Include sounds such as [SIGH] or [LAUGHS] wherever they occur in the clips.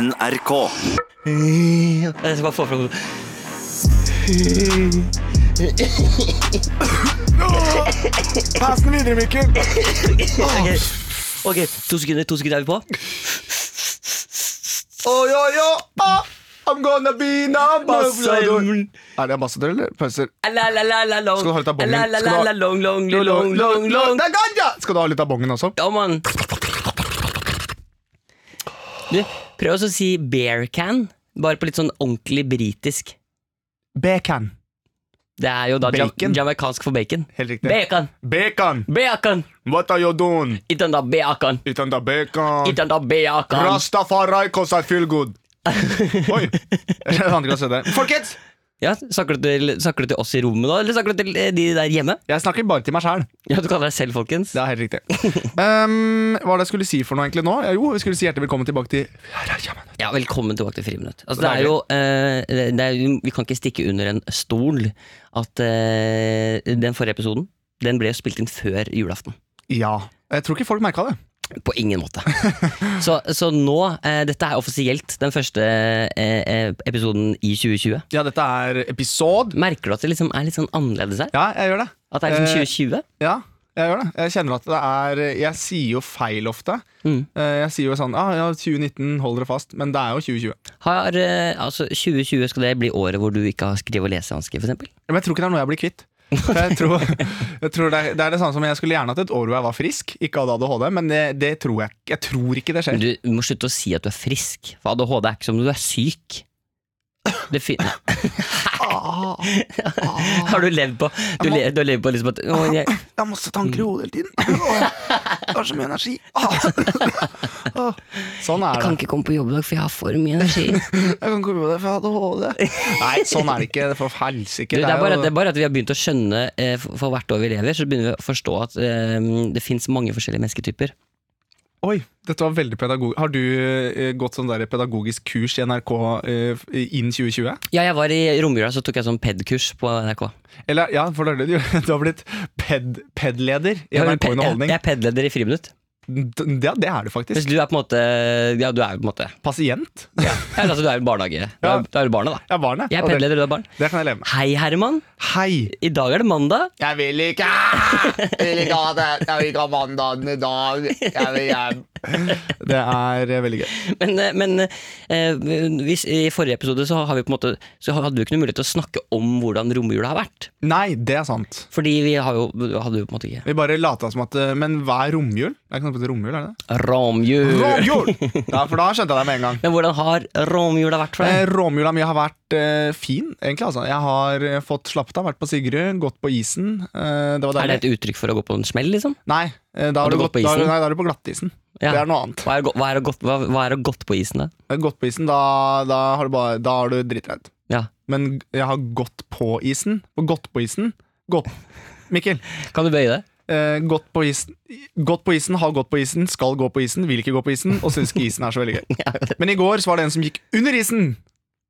NRK. Jeg skal bare få fram Pass den videre, Mikkel. Ok, ok, to sekunder, to sekunder er vi på. Oh, yo, yo. Ah, I'm gonna be an ambassador. Bassem. Er det ambassadør eller pauser? Alalalala, Skal du ha litt av bongen? alalalala, long, long, long, long, long, long. Det er ganja! Skal du ha litt av bongen også? Ja, mann. Du, prøv også å si bear can, bare på litt sånn ordentlig britisk. Bacon. Det er jo da jam Bacon. jamaikansk for bacon. Helt riktig. Bacon! bacon. Bacon! What are you doing? Iten da bacon! Uten da bacon. Iten da bacon! Rastafari cause I feel [LAUGHS] good. Oi. Jeg kjenner andre kan se det. Folkens! Ja, snakker du, til, snakker du til oss i rommet da, eller snakker du til eh, de der hjemme? Jeg snakker bare til meg sjæl. Ja, du kaller deg selv, folkens. Det er helt riktig. Um, hva var det jeg skulle si for noe egentlig nå? Ja, Jo, vi skulle si hjertelig velkommen tilbake til Ja, Velkommen tilbake til Friminutt. Altså, det er Deilig. jo, eh, det det er, jo- vi kan ikke stikke under en stol at eh, den forrige episoden den ble spilt inn før julaften. Ja. Jeg tror ikke folk merka det. På ingen [LAUGHS] måte. Så, så nå eh, Dette er offisielt den første eh, eh, episoden i 2020. Ja, dette er episode. Merker du at det liksom er litt sånn annerledes her? Ja, jeg gjør det. At det er liksom Eh, 2020? Ja, jeg gjør det. Jeg kjenner at det er Jeg sier jo feil ofte. Mm. Eh, Jeg sier jo sånn ah, ja, 2019, hold dere fast. Men det er jo 2020. Har, eh, altså 2020 skal det bli året hvor du ikke har skrive- og lesevansker, f.eks.? Men jeg tror ikke det er noe jeg blir kvitt. For Jeg [LAUGHS] tror, jeg tror det, er, det er det samme som jeg skulle gjerne hatt et år hvor jeg var frisk, ikke hadde ADHD, men det, det tror jeg ikke. Jeg tror ikke det skjer. Du må slutte å si at du er frisk, for ADHD er ikke som om du er syk. Det [LAUGHS] fin Ah, Har du levd på Du, må- le, du har levd på liksom at å, jeg, jeg har masse tanker i hodet hele tiden. Mm. Åh, Jeg har så mye energi. Ah. Åh, Sånn er det. ikke komme på jobb i dag, for jeg har for mye energi. [LAUGHS] Du, Jeg kan ikke komme på det, for [LAUGHS] jeg hadde ADHD. Nei, sånn er det ikke. For helsike. det, er bare, jo- det er bare at vi har begynt å skjønne eh, for for hvert år vi lever, så begynner vi å forstå at eh, det fins mange forskjellige mennesketyper. Oi, dette var veldig pedagogisk. Har du eh, gått sånn der pedagogisk kurs i NRK eh, innen 2020? Ja, jeg var i romjula, så tok jeg sånn PED-kurs på NRK. Eller, ja, for det er det du [LAUGHS] gjør. Du har blitt ped, PED-leder i Jeg, NRK jeg, jeg Underholdning. er PED-leder i Friminutt. D- Ja, det er du Hvis faktisk. du er på en måte Ja, du er jo på en måte Pasient? ja, altså, Du er jo barnehage. Du Ja. er, du er jo barnet, da. Ja, barnet. Jeg er Og det, PED-leder, du er barn. det kan jeg leve med. Hei, Herman. Hei! I dag er det mandag. Jeg vil ikke! [LAUGHS] Jeg vil ikke ha det! Jeg vil ikke ha mandagen i dag! Jeg vil hjem! Det er eh, veldig gøy. Men, eh, men eh, hvis, i forrige episode så, har vi på en måte, så hadde vi ikke noe mulighet til å snakke om hvordan romjula har vært. Nei, det er sant. Fordi vi har jo, hadde jo på en måte ikke Vi bare lata som at eh, Men hva er romjul? Det er ikke noe som heter romjul, er det det? Romjul! Romjul! Ja, for da skjønte jeg det med en gang. Men hvordan har romjula vært for Eh, deg? Romjula mi har vært eh, fin, egentlig. altså Jeg har eh, fått slappet av, vært på Sigrud, gått på isen. Eh, det var Er det deilig. et uttrykk for å gå på en smell, liksom? Nei, eh, da har du du gått, gått på da har du- isen? nei, da er du på glattisen. Ja. Det er noe annet. Hva er, go- hva er, å gått, hva, hva er å gått på isen, da? Eh, Gått på isen, da, da har du, bare- da har du dritredd. Ja. Men jeg har gått på isen. Og gått på isen gått. Mikkel. Kan du bøye det? Eh, gått, på isen, gått på isen, har gått på isen, skal gå på isen, vil ikke gå på isen, og syns ikke isen er så [LAUGHS] veldig gøy. Men i går så var det en som gikk under isen!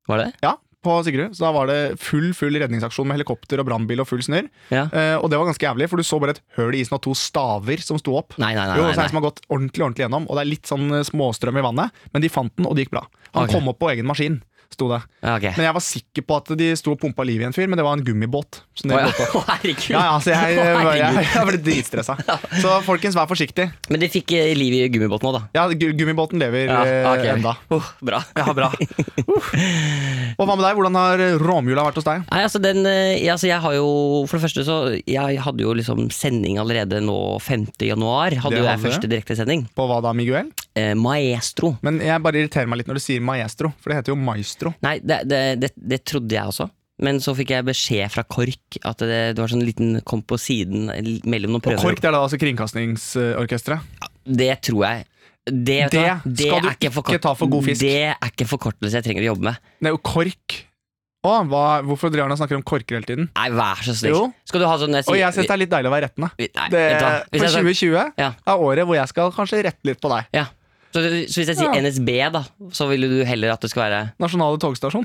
Var det? Ja, på Sigrud. Så da var det full full redningsaksjon med helikopter og brannbil og full snørr. Ja. Eh, og det var ganske jævlig, for du så bare et høl i isen og to staver som sto opp. Nei, nei, nei. Jo, det er nei, en som nei. har gått ordentlig ordentlig gjennom, og det er litt sånn eh, småstrøm i vannet, men de fant den, og det gikk bra. Han Ok. kom opp på egen maskin, sto det. Ja, ok. Men jeg var sikker på at de sto og pumpa liv i en fyr, men det var en gummibåt. Å, Så det ja. [LAUGHS] gikk opp. Å, herregud. [LAUGHS] Ja, ja, så [LAUGHS] jeg, Å, jeg, herregud. jeg, jeg ble dritstressa. [LAUGHS] Så folkens, vær forsiktig. Men de fikk eh, liv i gummibåten òg, da. Ja, gu- gummibåten lever eh, ok. enda. Oh, bra. Ja, bra. [LAUGHS] Uff. Og hva med deg? Hvordan har romjula vært hos deg? Nei, altså den eh, ja, altså Jeg har jo For det første så Jeg hadde jo liksom sending allerede nå 5. januar. Hadde Det jo hadde jeg du. første direktesending. På hva da, Miguel? Eh, Maestro. Men jeg bare irriterer meg litt når du sier maestro, for det heter jo maestro. Nei, det, det, det, det trodde jeg også. Men så fikk jeg beskjed fra KORK at det, det var sånn liten kom på siden l- mellom noen Og prøver. KORK det er da altså Kringkastingsorkesteret. Det tror jeg. Det, vet du hva? Det skal du er ikke, ikke ta for god fisk. Det er ikke forkortelse jeg trenger å jobbe med. Det er jo KORK. Å, hva, hvorfor driver han og snakker om korker hele tiden? Nei, vær så snill. Jo. Skal du ha sånn Og jeg syns det er litt deilig å være rettende. vi- nei, Det, vet du hva? Hvis for jeg sa- 2020 Ja. er året hvor jeg skal kanskje rette litt på deg. Ja. Så, så hvis jeg sier Ja. NSB, da, så ville du heller at det skal være Nasjonale [LAUGHS] togstasjon.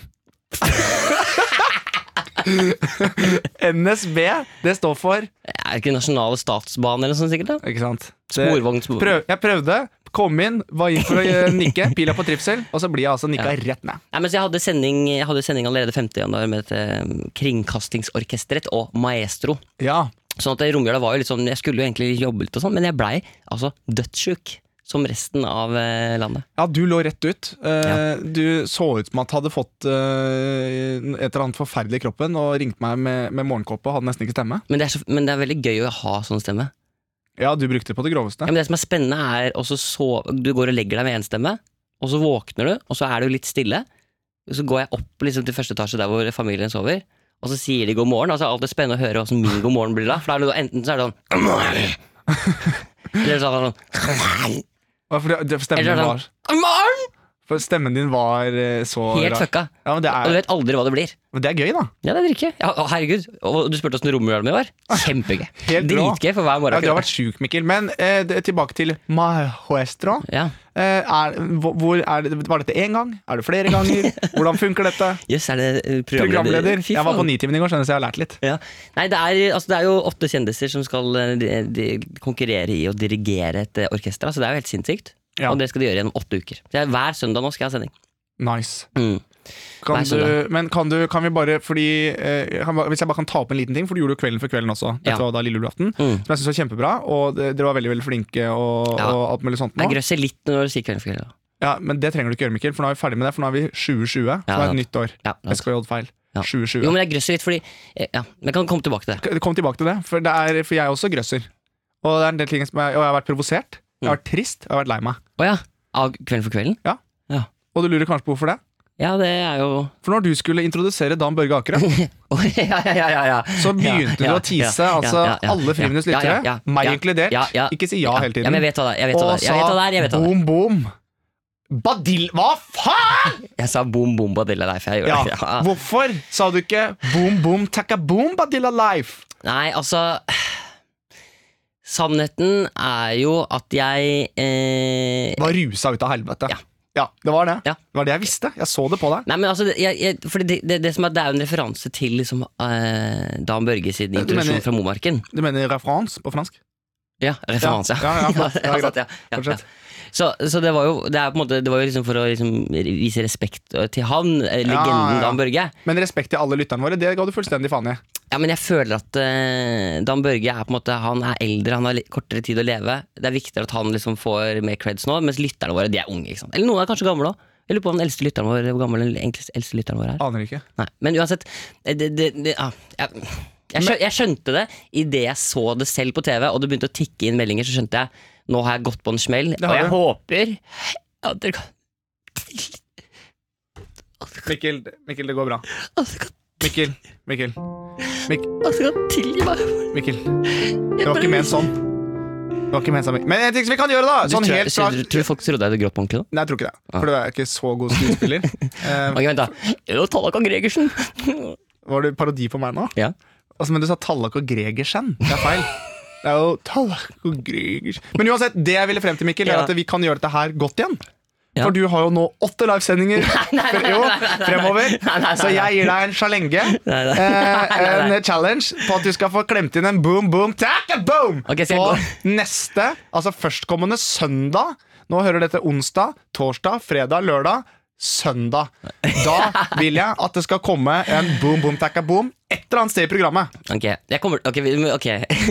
NSB, det står for Er det ikke Nasjonale statsbaner eller noe sånt, sikkert? da? Ikke sant? Det- Sporvogn, spor- Prøv, jeg prøvde, Kom inn, var inn for å eh, nikke, pila på trivsel, og så blir jeg altså nikka rett ned. Nei, men så jeg, hadde sending, jeg hadde sending allerede 5. januar med et, eh, Kringkastingsorkesteret og Maestro. Ja, Sånn at romjula var jo litt sånn Jeg skulle jo egentlig jobbe litt og sånn, men jeg blei altså dødssjuk. Som resten av eh, landet. Ja, du lå rett ut. Eh, Du så ut som at du hadde fått eh, et eller annet forferdelig i kroppen, og ringte meg med, med morgenkåpe og hadde nesten ikke stemme. Men det, er så, men det er veldig gøy å ha sånn stemme. Ja, du brukte det på det groveste. Ja, men det som er spennende, er også så, Du går og legger deg med én stemme, og så våkner du, og så er du litt stille. Og så går jeg opp liksom, til første etasje der hvor familien sover, og så sier de god morgen. Altså, alt er spennende å høre åssen min god morgen blir da. For da er det, enten så er det sånn «God morgen!» Eller så er det sånn «God morgen!» Ja, For, det- det, for, stemmen, Eller din sånn, var, «God morgen!» for stemmen din var eh, så Helt rar. fucka. Ja, men det Og du er, vet aldri hva det blir. men det er gøy, da. Ja, det er drikke. Ja, å, herregud. Og du spurte åssen romjula mi var. Kjempegøy. Helt bra. Dritgøy for hver morgen. Ja, du har akkurat. vært sjuk, Mikkel. Men eh, det- tilbake til Maestro. Ja. Eh, er, hvor- hvor er det, var dette én gang? Er det [LAUGHS] flere ganger? Hvordan funker dette? Jøss, er det eh, programleder? Programleder. Fy Jeg var faen. på Nitimen i går, skjønner du, så jeg har lært litt. Ja. Nei, det er, altså, det er jo åtte kjendiser som skal eh, de, de, konkurrere i å dirigere et eh, orkester. Altså, det er jo helt sinnssykt. Ja. Og det skal de gjøre gjennom åtte uker. Så jeg, hver søndag nå skal jeg ha sending. Nice. Mm. Kan Nei, så du, men kan du, kan vi bare, fordi eh, jeg kan, bare- Hvis jeg bare kan ta opp en liten ting, for du gjorde jo Kvelden for kvelden også. Dette Ja. var da lille julaften. Mm. Som jeg synes var kjempebra, og det- dere var veldig veldig flinke og, Ja. og alt mulig sånt. Jeg Nå. grøsser litt når du sier Kvelden for kvelden. Ja, men det trenger du ikke gjøre, Mikkel, for nå er vi ferdig med det. For nå er vi Ja, 2020, som er sant. et nytt år. Ja, sant. SKJ-feil. Ja. 2020. jo, men jeg grøsser litt fordi eh, Ja, men jeg kan komme tilbake til det. Kom tilbake til det, for, det er, for jeg er også grøsser. Og, det er en del ting som jeg, og jeg har vært provosert, jeg har vært Mm. trist, jeg har vært lei meg. Å ja. Av Kvelden for kvelden? Og du lurer kanskje på hvorfor det? Ja, det er jo [LAUGHS] For når du skulle introdusere Dan Børge Akerø, Å, ja, ja, ja, ja, ja. så begynte ja, du å tease ja, altså ja, ja, alle Friminutts ja, ja, lyttere, ja, ja, meg ja, inkludert. ja, ja. ikke si ja, hele tiden. Ja, men jeg vet hva det er. Jeg vet hva det er. Jeg vet hva det er, jeg vet hva det er. boom, boom. Badil... Hva faen?! Jeg sa bom, bom, badilla life. Jeg Ja. gjorde det. Ja. Hvorfor sa du ikke boom, boom, takka boom, Badilla Life? Nei, altså Sannheten er jo at jeg eh, Var rusa ut av helvete. Ja. det var det. Ja. Det var det jeg visste. Jeg så det på deg. Nei, men altså, jeg, jeg, for det, det, det som er, det er jo en referanse til liksom, eh, Dan Børge sin Ja, du mener- introduksjon fra Momarken. Du mener referanse på fransk? Ja, referanse. Ja, ja, ja, flott. Ja, greit. sant, [LAUGHS] ja, ja, ja. Fortsett. Så, så det var jo, det er på en måte, det var jo liksom for å liksom vise respekt til han, eh, legenden Ja, ja. Dan Børge. Men respekt til alle lytterne våre, det ga du fullstendig faen i. Ja, men jeg føler at eh, Dan Børge er på en måte Han er eldre, han har litt kortere tid å leve. Det er viktigere at han liksom får mer creds nå, mens lytterne våre de er unge. ikke sant? Eller noen er kanskje gamle òg. Jeg lurer på om den eldste lytteren vår, hvor gammel den enkleste- eldste lytteren vår er. Aner ikke. Nei, Men uansett eh, det, det, det, ah, jeg, jeg, skjø, jeg skjønte det idet jeg så det selv på TV, og det begynte å tikke inn meldinger. Så skjønte jeg nå har jeg gått på en smell, har og jeg du. håper at dere kan, Mikkel, Mikkel, det går bra. at altså, dere kan, Mikkel, Mikkel, at dere kan tilgi meg. Mikkel. Det var ikke ment sånn. Det var ikke ment sånn. Men en ting som vi kan gjøre, da! Du Sånn tror, helt fra tror, tror du folk trodde jeg hadde grått på ordentlig nå? Nei, jeg tror ikke det. Ah. For du er ikke så god [LAUGHS] skuespiller. Eh, Ok, vent da. Jo, Tallak og Gregersen. var det parodi på meg nå? Ja. Altså, men du sa Tallak og Gregersen. Det er feil. Det er jo Tallak og Gregersen Men uansett, det jeg ville frem til, Mikkel, er Ja. at vi kan gjøre dette her godt igjen. Ja. For du har jo nå åtte [LAUGHS] livesendinger fre- jo, fremover. nei, Så jeg gir deg en sjalenge. Nei, nei. eh, [LAUGHS] Nei, nei, En challenge på at du skal få klemt inn en boom, boom, takk, boom! Ok, skal jeg på gå? neste, altså førstkommende søndag. Nå hører dette onsdag, torsdag, fredag, lørdag, søndag. [LAUGHS] Da vil jeg at det skal komme en boom, boom, takka, boom et eller annet sted i programmet. Ok, jeg kommer Ok, vi, ok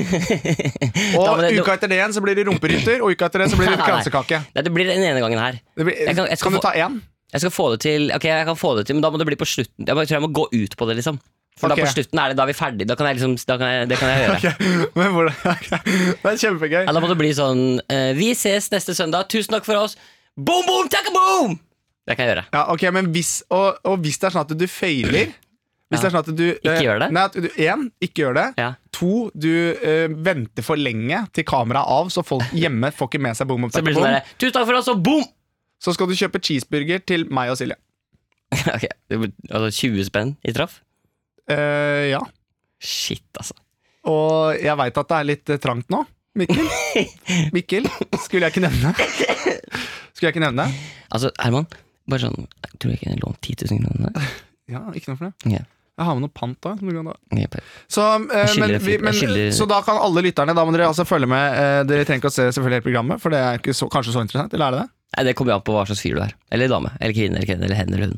[LAUGHS] Da må Og det- uka etter det igjen så blir det rumperytter, og uka etter det så blir [LAUGHS] det Nei, nei. kransekake. Nei, det blir den ene gangen her Det blir, Jeg kan- jeg skal kan du få- ta én? [LAUGHS] Jeg skal få det til Ok, jeg kan få det til Men da må det bli på slutten Jeg bare tror jeg må gå ut på det liksom For Ok. da på slutten er det Da er vi ferdige Da kan jeg liksom da kan jeg, Det kan [LAUGHS] jeg gjøre Men hvordan- Det er kjempegøy. ja, Da må det bli sånn eh, Vi ses neste søndag Tusen takk for oss Boom, boom, takk boom Det kan jeg gjøre Ja, ok, men hvis, og, og hvis det er sånn at du feiler Hvis det er sånn at du eh, gjør det? Nei, at du, en, ikke gjør det Ja. To, du eh, venter for lenge til kameraet er av Så [LAUGHS] folk hjemme får ikke med seg boom, boom, Så takk, blir det sånn boom. der Tusen takk for oss Og boom [LAUGHS] Så skal du kjøpe cheeseburger til meg og Silje Ok det blir- Altså 20 spenn i traff Eh, Ja, Shit altså og jeg vet at det er litt eh, trangt nå Mikkel [LAUGHS] Mikkel, skulle jeg ikke nevne Skulle jeg ikke nevne Altså Herman Bare sånn Tror du jeg kunne lånt 10 000 kroner Ja, ikke noe for det Ok. Jeg har med noe pant da. Som du kan ta. Jepper. Så, eh, Jeg skylder men, det vi, fint. men, Jeg skylder- så da kan alle lytterne Da må dere altså følge med. Eh, dere trenger ikke å se selvfølgelig hele programmet, for det er ikke så, kanskje så interessant. Eller er det det? Nei, det kommer jo an på hva slags fyr du er. Eller dame. Eller kvinne. Eller kvinne, eller hen eller hun.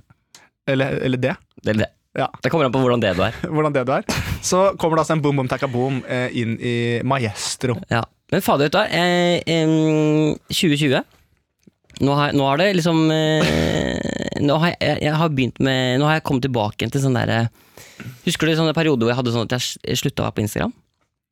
Eller, eller det? Det, det. Ja. det kommer an på hvordan det du er. [LAUGHS] Hvordan det du er. Så kommer det altså en boom boom takka boom eh, inn i Maestro. Ja. Men fader, vet du hva. Eh, em, 2020. Nå har, nå har det liksom eh, Nå har jeg, jeg, jeg har begynt med Nå har jeg kommet tilbake igjen til sånn derre Husker du sånne perioder hvor jeg hadde sånn at jeg slutta å være på Instagram?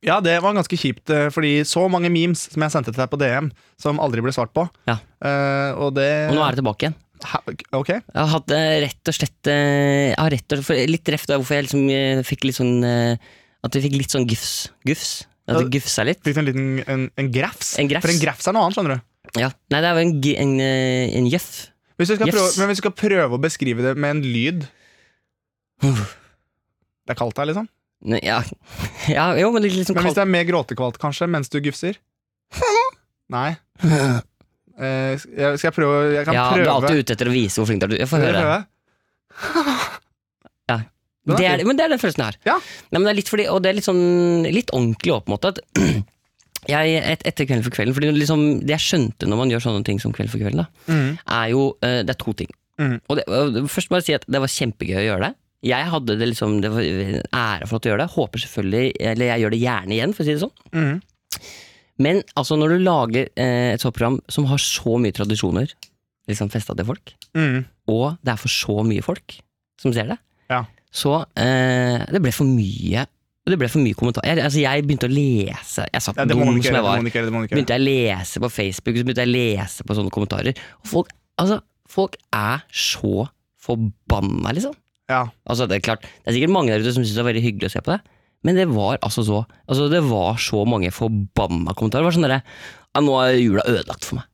Ja, det var ganske kjipt, eh, fordi så mange memes som jeg sendte til deg på DM, som aldri ble svart på. Ja. Eh, og det Og nå er det tilbake igjen. Hæ? Ok. Jeg har hatt eh, rett og slett eh, jeg har rett og slett, Litt reft av hvorfor jeg liksom eh, fikk litt sånn eh, At vi fikk litt sånn gufs. Gufs. At det gufsa litt. Fikk du en liten en, en grafs? En grafs. For en grafs er noe annet, skjønner du. Ja. Nei, det er jo en, g- en, eh, en gjøff. Hvis vi skal Yes. prøve, men hvis vi skal prøve å beskrive det med en lyd Det er kaldt her, liksom. Nei, Ja. [LAUGHS] ja, jo, men litt, litt sånn Men hvis kaldt. det er mer gråtekvalt, kanskje, mens du [LAUGHS] gufser? Nei. Eh, jeg, skal jeg prøve Jeg kan Ja, du prøve. er alltid ute etter å vise hvor flink du er. Jeg får Skal jeg høre. prøve? Den er Det er, fin. men det er den følelsen jeg har. Ja. Nei, men det er litt fordi, og det er litt sånn litt ordentlig òg, på en måte. At [CLEARS THROAT] jeg, et, etter Kvelden for kvelden Fordi liksom, Det jeg skjønte når man gjør sånne ting som Kvelden for kvelden, da, Mhm. er jo eh, Det er to ting. Mhm. Og det, og først må jeg si at det var kjempegøy å gjøre det. Jeg hadde det liksom Det var en ære for at du gjør det. Håper selvfølgelig Eller jeg gjør det gjerne igjen, for å si det sånn. Mhm. Men altså, når du lager eh, et sånt program som har så mye tradisjoner, liksom festa til folk, Mhm. og det er for så mye folk som ser det. Ja. Så eh, det ble for mye Det ble for mye kommentar. Jeg, altså, jeg begynte å lese. Jeg satt Ja, det må man dum ikke som jeg gjøre. Det må var. man ikke gjøre. Det må man ikke gjøre. Begynte jeg å lese på Facebook, så begynte jeg å lese på sånne kommentarer. Og folk, altså, folk er så forbanna, liksom. Ja. Altså, det er klart, det er sikkert mange der ute som syns det er veldig hyggelig å se på det, men det var altså så Altså, det var så mange forbanna kommentarer. Det var sånn derre ja, Nå er jula ødelagt for meg.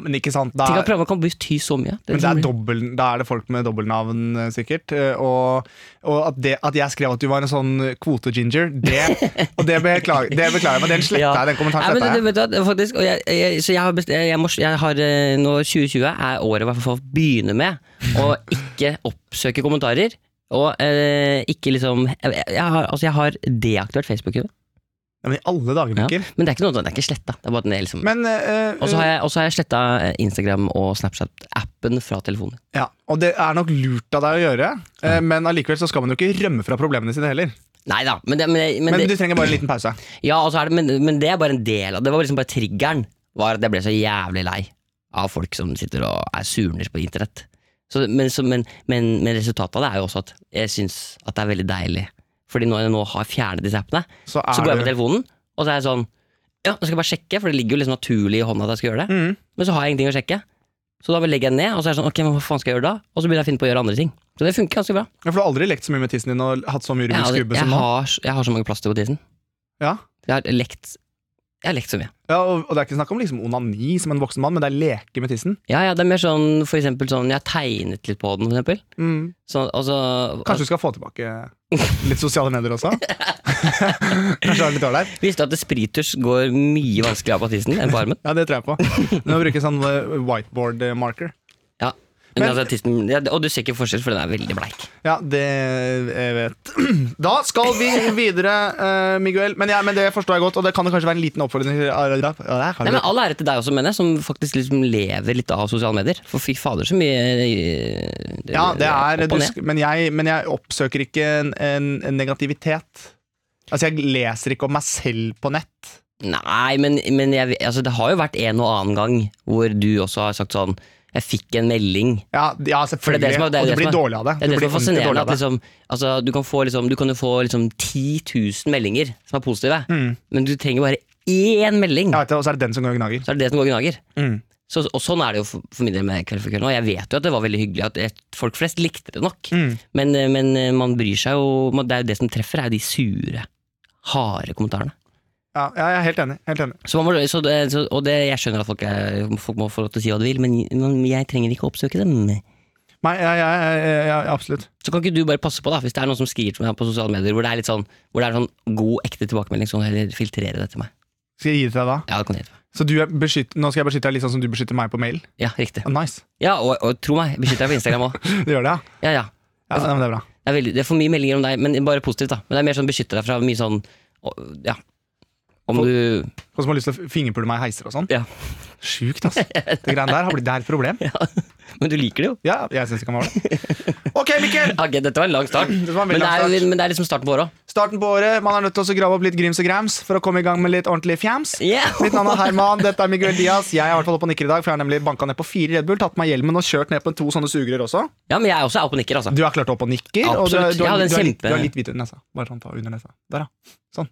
Men ikke sant, da Tenk at programmet kan bli ty så mye. Men det er liksom- dobbel, da er det folk med dobbeltnavn, eh, sikkert. eh, Og, og at, det, at jeg skrev at du var en sånn kvote-ginger, det, og det beklager, det beklager jeg. Men den sletta Ja. jeg. Den Nei, kommentaren men det, sletta jeg. vet du, hva, det er faktisk, og jeg, jeg, så jeg har, best, jeg, jeg må, jeg har eh, nå 2020 er året hva folk begynner med å ikke oppsøke kommentarer. Og eh, ikke liksom jeg, jeg, har, altså, jeg har deaktivert Facebook-gruppen. Ja, men i alle dager, Ja. Mikkel. Men det er ikke noe sånn, det er ikke sletta. Det er bare at den er liksom Men eh, og så har jeg, og så har jeg sletta Instagram og Snapchat-appen fra telefonen. Ja, og det er nok lurt av deg å gjøre, eh, men allikevel så skal man jo ikke rømme fra problemene sine heller. Nei da, men, det, men, det- men, Men det, du trenger bare en liten pause. ja, og så er det, men, men det er bare en del av det. var liksom bare triggeren. Var at jeg ble så jævlig lei av folk som sitter og er surner på internett. Så, men, så, men, men, men resultatet av det er jo også at jeg syns at det er veldig deilig. Fordi når jeg nå har fjernet disse appene, Så er så går jeg på du telefonen, og så er jeg sånn Ja, nå skal jeg bare sjekke, for det ligger jo liksom naturlig i hånda at jeg skal gjøre det. Mhm. Men så har jeg ingenting å sjekke. Så da bare legger jeg den ned, og så er jeg sånn Ok, men hva faen skal jeg gjøre da? Og så begynner jeg å finne på å gjøre andre ting. Så det funker ganske bra. Ja, For du har aldri lekt så mye med tissen din og hatt så mye Jeg, Rubiks har- kube jeg, som nå? har, så- jeg har så mange plaster på tissen. Ja. Jeg har lekt Jeg har lekt så mye. ja og, og det er ikke snakk om liksom onani som en voksen mann, men det er leke med tissen. Ja, ja, det er mer sånn for eksempel sånn Jeg har tegnet litt på den, for eksempel. Mm. Så, altså, Kanskje du skal få tilbake litt sosiale medier [LAUGHS] også? Kanskje du har litt år der? Visste du at det sprittusj går mye vanskeligere av på tissen enn på armen? Ja, det tror jeg på. Du må bruke sånn eh, whiteboard eh, marker. Ja. Men, altså, tissen, ja, og du ser ikke forskjell, for den er veldig bleik. Ja, det jeg vet [CLEARS THROAT] Da skal vi videre, eh, Miguel. Men, ja, men det forstår jeg godt, og det kan jo kanskje være en liten oppfordring. til- Ja, det kan Nei, du- men All ære til deg også, mener jeg, som faktisk liksom lever litt av sosiale medier. For fy fader, så mye eh, Ja, det er opp og du, ned. sk- men, jeg, men jeg oppsøker ikke en, en, en negativitet. Altså, jeg leser ikke om meg selv på nett. Nei, men, men jeg, altså, det har jo vært en og annen gang hvor du også har sagt sånn Jeg fikk en melding. Ja, ja For det er selvfølgelig. det som er- det er og det du blir som er- dårlig av det. Det er Du det blir som er ordentlig fascinerende. dårlig av At liksom, altså, du, kan få, liksom, du kan jo få liksom, 10 000 meldinger som er positive, Mm. men du trenger bare én melding. Jeg vet det, og så er det den som går og gnager. Så er det det som går og gnager. Mm. Så, og sånn er det jo for, for min del med Kveld for kveld. Og jeg vet jo at det var veldig hyggelig at et, folk flest likte det nok. Mm. Men, eh, men eh, man bryr seg jo man, Det er jo det som treffer, er jo de sure, harde kommentarene. Ja, ja, jeg er helt enig. Helt enig. Så man må, så det, så, og det, jeg skjønner at folk, er, folk må få lov til å si hva de vil, men, men jeg trenger ikke å oppsøke dem. Nei, ja, ja, ja, ja, ja, absolutt. Så kan ikke du bare passe på, da, hvis det er noen som skriver til meg på sosiale medier, hvor det er litt sånn, hvor det er sånn god, ekte tilbakemelding, sånn heller filtrere det til meg. Skal jeg gi det til deg da? Ja, det kan du gjøre. Så du er beskytt, nå skal jeg beskytte deg litt sånn som du beskytter meg på mail? Ja, riktig. Ah, Nice. Ja, og, og tro meg, beskytt deg på Instagram òg. Du gjør det, ja? Ja, ja. Ja, men det er bra. Det er, veldig, det er for mye meldinger om deg, men bare positivt. da Men det er mer sånn beskytte deg fra mye sånn å- Ja. Om For- du Folk som har lyst til å fingerpule meg i heiser og sånn. Ja. Sjukt, altså. Det greiene der har blitt det er et [LAUGHS] problem. Men du liker det jo. Ja, jeg syns det kan være det. Ok, Mikkel! Ok, dette var en lang start. Det var en men, [CLEARS THROAT] det veldig lang er, start. men det er liksom starten på året òg. Starten på året. Man er nødt til å grave opp litt grims og grams for å komme i gang med litt ordentlig fjams. Yeah. Mitt navn er Herman, dette er Miguel Diaz. Jeg er i hvert fall oppe og nikker i dag, for jeg har nemlig banka ned på fire Red Bull, tatt på meg hjelmen og kjørt ned på to sånne sugerør også. Ja, men jeg er også oppe og nikker, altså. Du er klart opp og nikker. Og du, Absolutt. du, Jeg har, hadde en du, har, litt- kjempe- du har litt hvit under nesa. Bare sånn, ta under nesa. Der, ja. Sånn.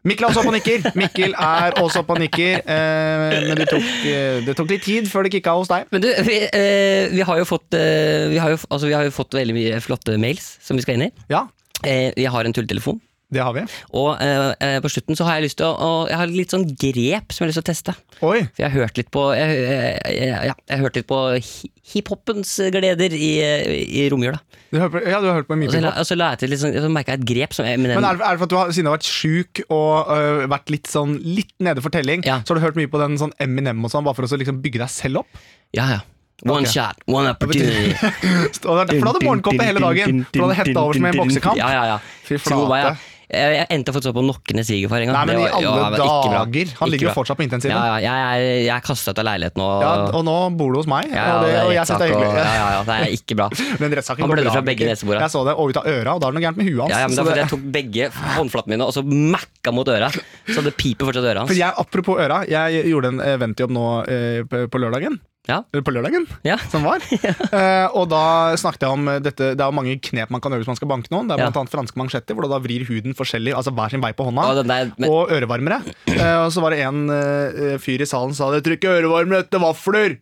Mikkel er også oppe og nikker. Mikkel er også oppe og nikker. Eh, men det tok, eh, det tok litt tid før det kicka hos deg. Men du, vi, eh, vi har jo fått eh, vi, har jo, altså, vi har jo fått veldig mye flotte mails som vi skal inn i. Ja, Eh, vi har en tulletelefon. det har vi. Og eh, eh, på slutten så har jeg lyst til å, å Jeg har litt sånn grep som jeg har lyst til å teste. Oi. For jeg har hørt litt på Jeg, jeg, jeg, ja, jeg hørte litt på hi- hiphopens gleder i, eh, i romjula. Du hører på, ja, du har hørt på mye Og så, på. la- og så, la jeg til litt sånn, så merka jeg et grep som jeg, men Men er det, er det for at du har, siden du har vært sjuk og øh, vært litt sånn litt nede for telling, Ja. så har du hørt mye på den sånn Eminem og sånn, bare for å så liksom bygge deg selv opp? Ja, ja. One Ok. shot, one [LAUGHS] opportunity. Og det er derfor du hadde morgenkåpe hele dagen, for du hadde hetta over som i en boksekamp. Ja, ja, ja. Fy Tro meg, ja. flate. Jeg, jeg endte faktisk opp på nokkende svigerfar en gang. Nei, men Det i var- ja, alle det var ikke bra. dager! Ikke Han ligger bra. jo fortsatt på intensiven. Ja, ja, jeg er, jeg er kasta ut av leiligheten og Ja, og nå bor du hos Ja, meg, ja, og, det, og jeg syns det er rettssak og- hyggelig. Ja, ja, ja, det [LAUGHS] er ikke bra. Men rettssaken Han går blødde bra, fra begge Mikkel. nesebora. Jeg så det, og ut av øra, og da er det noe gærent med huet hans. Ja, ja, men det så er fordi det- jeg tok begge håndflatene mine og så mækka mot øra. Så det piper fortsatt i øra For hans. jeg, apropos øra, jeg gjorde en eventjobb nå eh, på, på lørdagen. Ja. Eh, På lørdagen? [LAUGHS] Ja. som var. Eh, og da snakket jeg om eh, dette, det er jo mange knep man kan gjøre hvis man skal banke noen. Det er Ja. blant annet franske mansjetter, hvor du da vrir huden forskjellig, altså hver sin vei på Og, hånda. den der, men, Og ørevarmere. Eh, og så var det en eh, fyr i salen som sa det trykk ørevarmere etter vafler.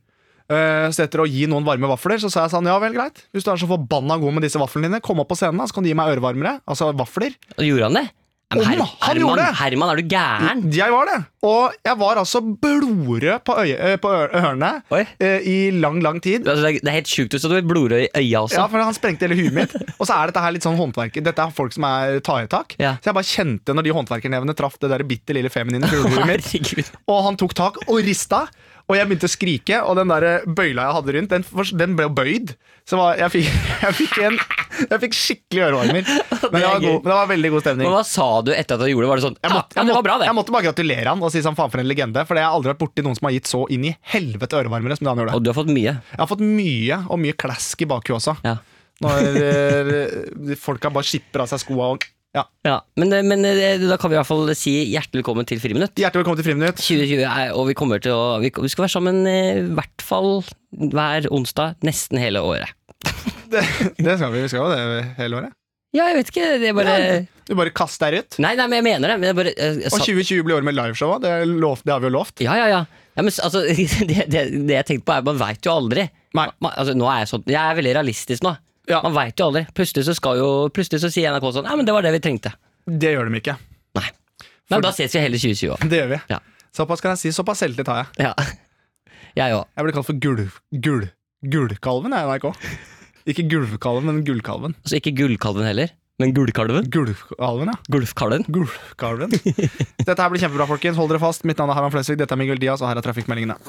Eh, så etter å gi noen varme vafler, så sa jeg sånn ja vel, greit. Hvis du er så forbanna god med disse vaflene dine, kom opp på scenen, da, så kan du gi meg ørevarmere. Altså vafler. og gjorde han det? Ja, men Om Her, han Herman, gjorde det? Herman, er du gæren? Jeg var det. Og jeg var altså blodrød på, øye, eh, på ø- ørene Oi. eh, i lang, lang tid. Altså, det er- det er helt sjukt ut, så du har blodrød i øya også. Ja, for han sprengte hele huet mitt. Og så er dette her litt sånn håndverker. Dette er folk som er tar i tak. Ja. Så jeg bare kjente når de håndverkernevene traff det der bitte lille feminine fuglehuet mitt. Herregud. Og han tok tak og rista. Og jeg begynte å skrike, og den der bøyla jeg hadde rundt, den, fors- den ble jo bøyd. Så var, jeg, fikk, [LAUGHS] jeg, fikk en, jeg fikk skikkelig [LAUGHS] ørevarmer. Men det gøy. var, god, men det var veldig god stemning. Men hva sa du etter at du gjorde det? Var det sånn Jeg ja, måtte, ja, jeg, det måtte, var bra, det. jeg måtte bare gratulere han og si sånn faen for en legende. For jeg har aldri vært borti noen som har gitt så inn i helvete ørevarmere som det han gjorde. Og du har fått mye. Jeg har fått mye og mye klask i bakhuet også. Ja. Når eh, folka bare skipper av seg skoa og ja. Ja, men, eh, men eh, da kan vi i hvert fall si hjertelig velkommen til Friminutt. Hjertelig velkommen til Friminutt. 2020 er, og vi kommer til å Vi vi skal være sammen eh, i hvert fall hver onsdag nesten hele året. Det, [LAUGHS] det skal vi. Vi skal jo det hele året. Ja, jeg vet ikke. Det er bare Du bare kast deg ut. Nei, nei, men jeg mener det. Men jeg bare, eh, jeg, jeg, Og sa- 2020 blir året med liveshow òg. Det, er lov- det har vi jo lovt. ja, ja, ja. ja men, s- altså, [LAUGHS] det, det, det jeg tenkte på, er man veit jo aldri. Nei. Man, altså, nå er jeg, sånn, jeg er veldig realistisk nå. Ja. Man veit jo aldri. Plutselig så, skal jo, plutselig så sier NRK sånn Nei, men det var det vi trengte. Det gjør de ikke. Nei. Nei, men Da ses vi heller 2020 òg. Det gjør vi. Ja. Såpass kan jeg si. Såpass selvtillit har Ja. jeg. [LAUGHS] Jeg òg. Jeg blir kalt for gul, gul, Gullkalven jeg, i NRK. Ikke Gulvkalven, men Gullkalven. Så ikke Gullkalven heller, men Gullkalven. Gulvkalven, ja. Gulfkalven. [LAUGHS] Gulvkalven. Dette her blir kjempebra, folkens. Hold dere fast. Mitt navn er Herman Flesvig, dette er Miguel Diaz, og her er trafikkmeldingene.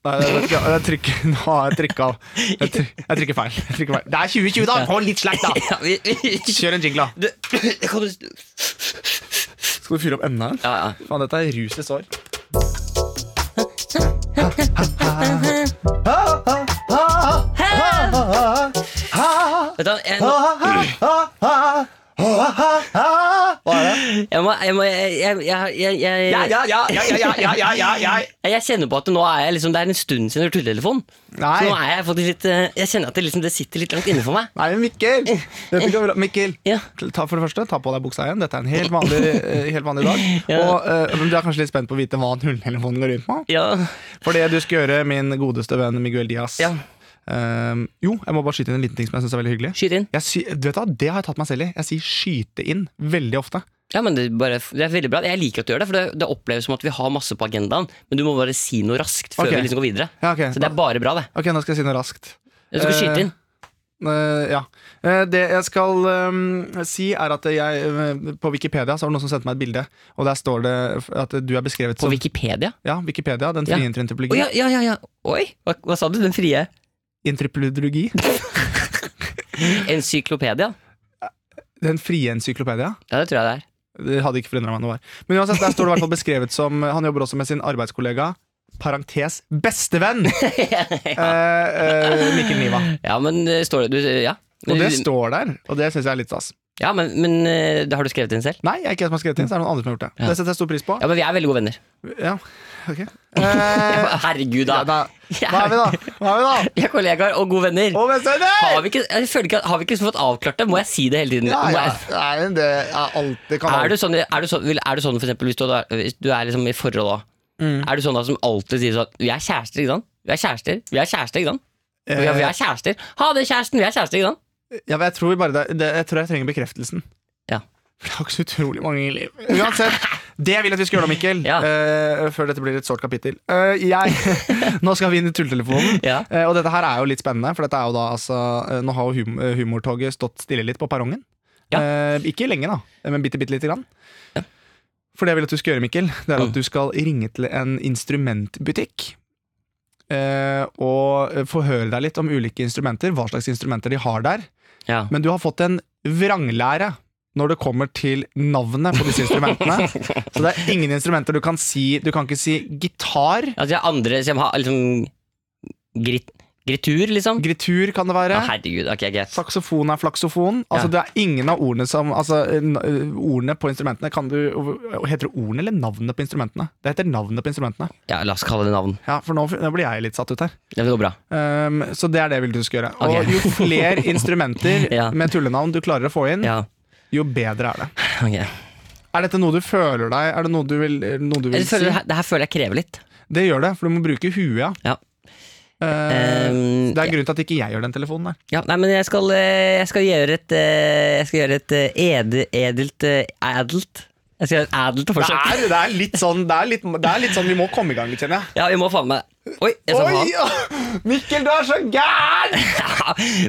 Nei, det er- det er trykk, [LAUGHS] nå har jeg trykka av. Jeg, tryk, jeg trykker feil. Jeg trykker feil. Det er 2020, da! Hold litt slack, da! Ja, vi, Kjør en jingle, da. du, kan du Skal du fyre opp emnet her? Ja, ja. Faen, dette er rus i sår. Vet du, hva, jeg, nå, Hva er det? jeg, må, jeg, må, jeg, jeg, jeg, jeg, jeg, Ja, ja, ja, ja, ja, ja, ja, ja, ja. Jeg kjenner på at nå er jeg liksom, det er en stund siden jeg har tulletelefonen. Så nå Nei. er jeg faktisk litt eh, Jeg kjenner at det, liksom, det sitter litt langt inne for meg. Nei, men Mikkel! Dette går bra. Mikkel, Ja. ta for det første, ta på deg buksa igjen. Dette er en helt vanlig, eh, helt vanlig dag. Og eh, men Du er kanskje litt spent på å vite hva nulltelefonen går ut på? Ja, For det du skal gjøre, min godeste venn Miguel Diaz Ja. Ehm, Jo, jeg må bare skyte inn en liten ting som jeg syns er veldig hyggelig. Skyt inn. Jeg sy du vet hva, Det har jeg tatt meg selv i. Jeg sier 'skyte inn' veldig ofte. Ja, men det, er bare, det er veldig bra. Jeg liker at du gjør det, for det, det oppleves som at vi har masse på agendaen, men du må bare si noe raskt før Ok. vi liksom går videre. Ja, ok. Så det er bare bra, det. ok, nå skal jeg si noe raskt. Du skal skyte inn. Eh, ja. Eh, det jeg skal ehm, si, er at jeg eh, På Wikipedia så var det noen som sendte meg et bilde, og der står det at du er beskrevet På som Wikipedia? Ja, Wikipedia. Den Ja. frie Å, interentropologi. ja, ja, ja, ja. Oi, hva, hva sa du? Den frie? Interpolologi. Encyklopedia? Den frie encyklopedia? Ja, det tror jeg det er. Det hadde ikke forundra meg noe. var. Men uansett, der står det i hvert fall beskrevet som Han jobber også med sin arbeidskollega, parentes [LAUGHS] bestevenn, eh, eh, Mikkel Niva. Ja, men eh, står det du, Ja, Og det står der, og det syns jeg er litt stas. ja men, men eh, det har du skrevet inn selv? Nei, jeg er ikke jeg som har skrevet det, så er det noen andre som har gjort det. Ja. Det setter jeg stor pris på. Ja, men vi er veldig gode venner. Ja, ok. Eh, [LAUGHS] Herregud, ja, da. da. Hva er vi, da? Hva er vi da? Vi er kollegaer og gode venner. Å, bestevenner! Har vi ikke, jeg føler ikke, har vi ikke liksom fått avklart det? Må jeg si det hele tiden? Ja, Må ja. jeg, Nei, men det er alt det kan er, alt. du sånn, er, du sånn, vil- er du sånn for eksempel hvis du, da- hvis du er liksom i forhold da? Mm. Er du sånn da som alltid sier sånn Vi er kjærester, ikke sant? Vi er kjærester, vi er kjærester, ikke sant? Vi er, vi er kjærester. Ha det, kjæresten! Vi er kjærester, ikke sant? Ja, men jeg tror bare det, det Jeg tror jeg trenger bekreftelsen. Ja. For det er ikke så utrolig mange i livet. Uansett, det jeg vil at vi skal gjøre da, Mikkel, Ja. eh, før dette blir et sårt kapittel Eh, [LAUGHS] jeg, Nå skal vi inn i tulltelefonen. Ja. Eh, og dette her er jo litt spennende, for dette er jo da altså eh, Nå har jo hum eh, humortoget stått stille litt på perrongen. Ja. Eh, ikke lenge, da, men bitte, bitte lite grann. For det jeg vil at du skal gjøre, Mikkel, det Mm. er at du skal ringe til en instrumentbutikk. eh, og eh, forhøre deg litt om ulike instrumenter, hva slags instrumenter de har der. Ja. Men du har fått en vranglære når det kommer til navnet på disse [LAUGHS] instrumentene. Så det er ingen instrumenter du kan si Du kan ikke si gitar. Altså, jeg har andre som har liksom grit, Gritur, liksom? Gritur kan det Ja, være. herregud, ok, greit. Saksofon er flaksofon. Altså Det er ingen av ordene som Altså n- Ordene på instrumentene kan du Heter det ordene eller navnet på instrumentene? Det heter navnet på instrumentene. Ja, la oss kalle det navn. Ja, For nå, nå blir jeg litt satt ut her. Ja, det går bra. Um, så det er det jeg vil du skal gjøre. Ok. Og jo [LAUGHS] flere instrumenter Ja. med tullenavn du klarer å få inn, Ja, [LAUGHS] jo bedre er det. ok. Er dette noe du føler deg Er det noe du vil, er det noe du vil Jeg si? føler, det her- det her føler jeg krever litt. Det gjør det, for du må bruke huet. ja. Ja. Eh, Um, det er grunnen til at ikke jeg gjør den telefonen der. Ja, nei, men jeg skal, eh, jeg skal gjøre et eh, Jeg skal gjøre et eh, ede, edelt eh, Adelt Jeg skal gjøre et adelt Det forsøk. er, det er litt sånn det er litt, det er litt sånn vi må komme i gang litt, kjenner jeg. Ja, vi må faen meg Oi, jeg sa Oi, [LAUGHS] faen. [LAUGHS] ja. Mikkel, du er så gæren!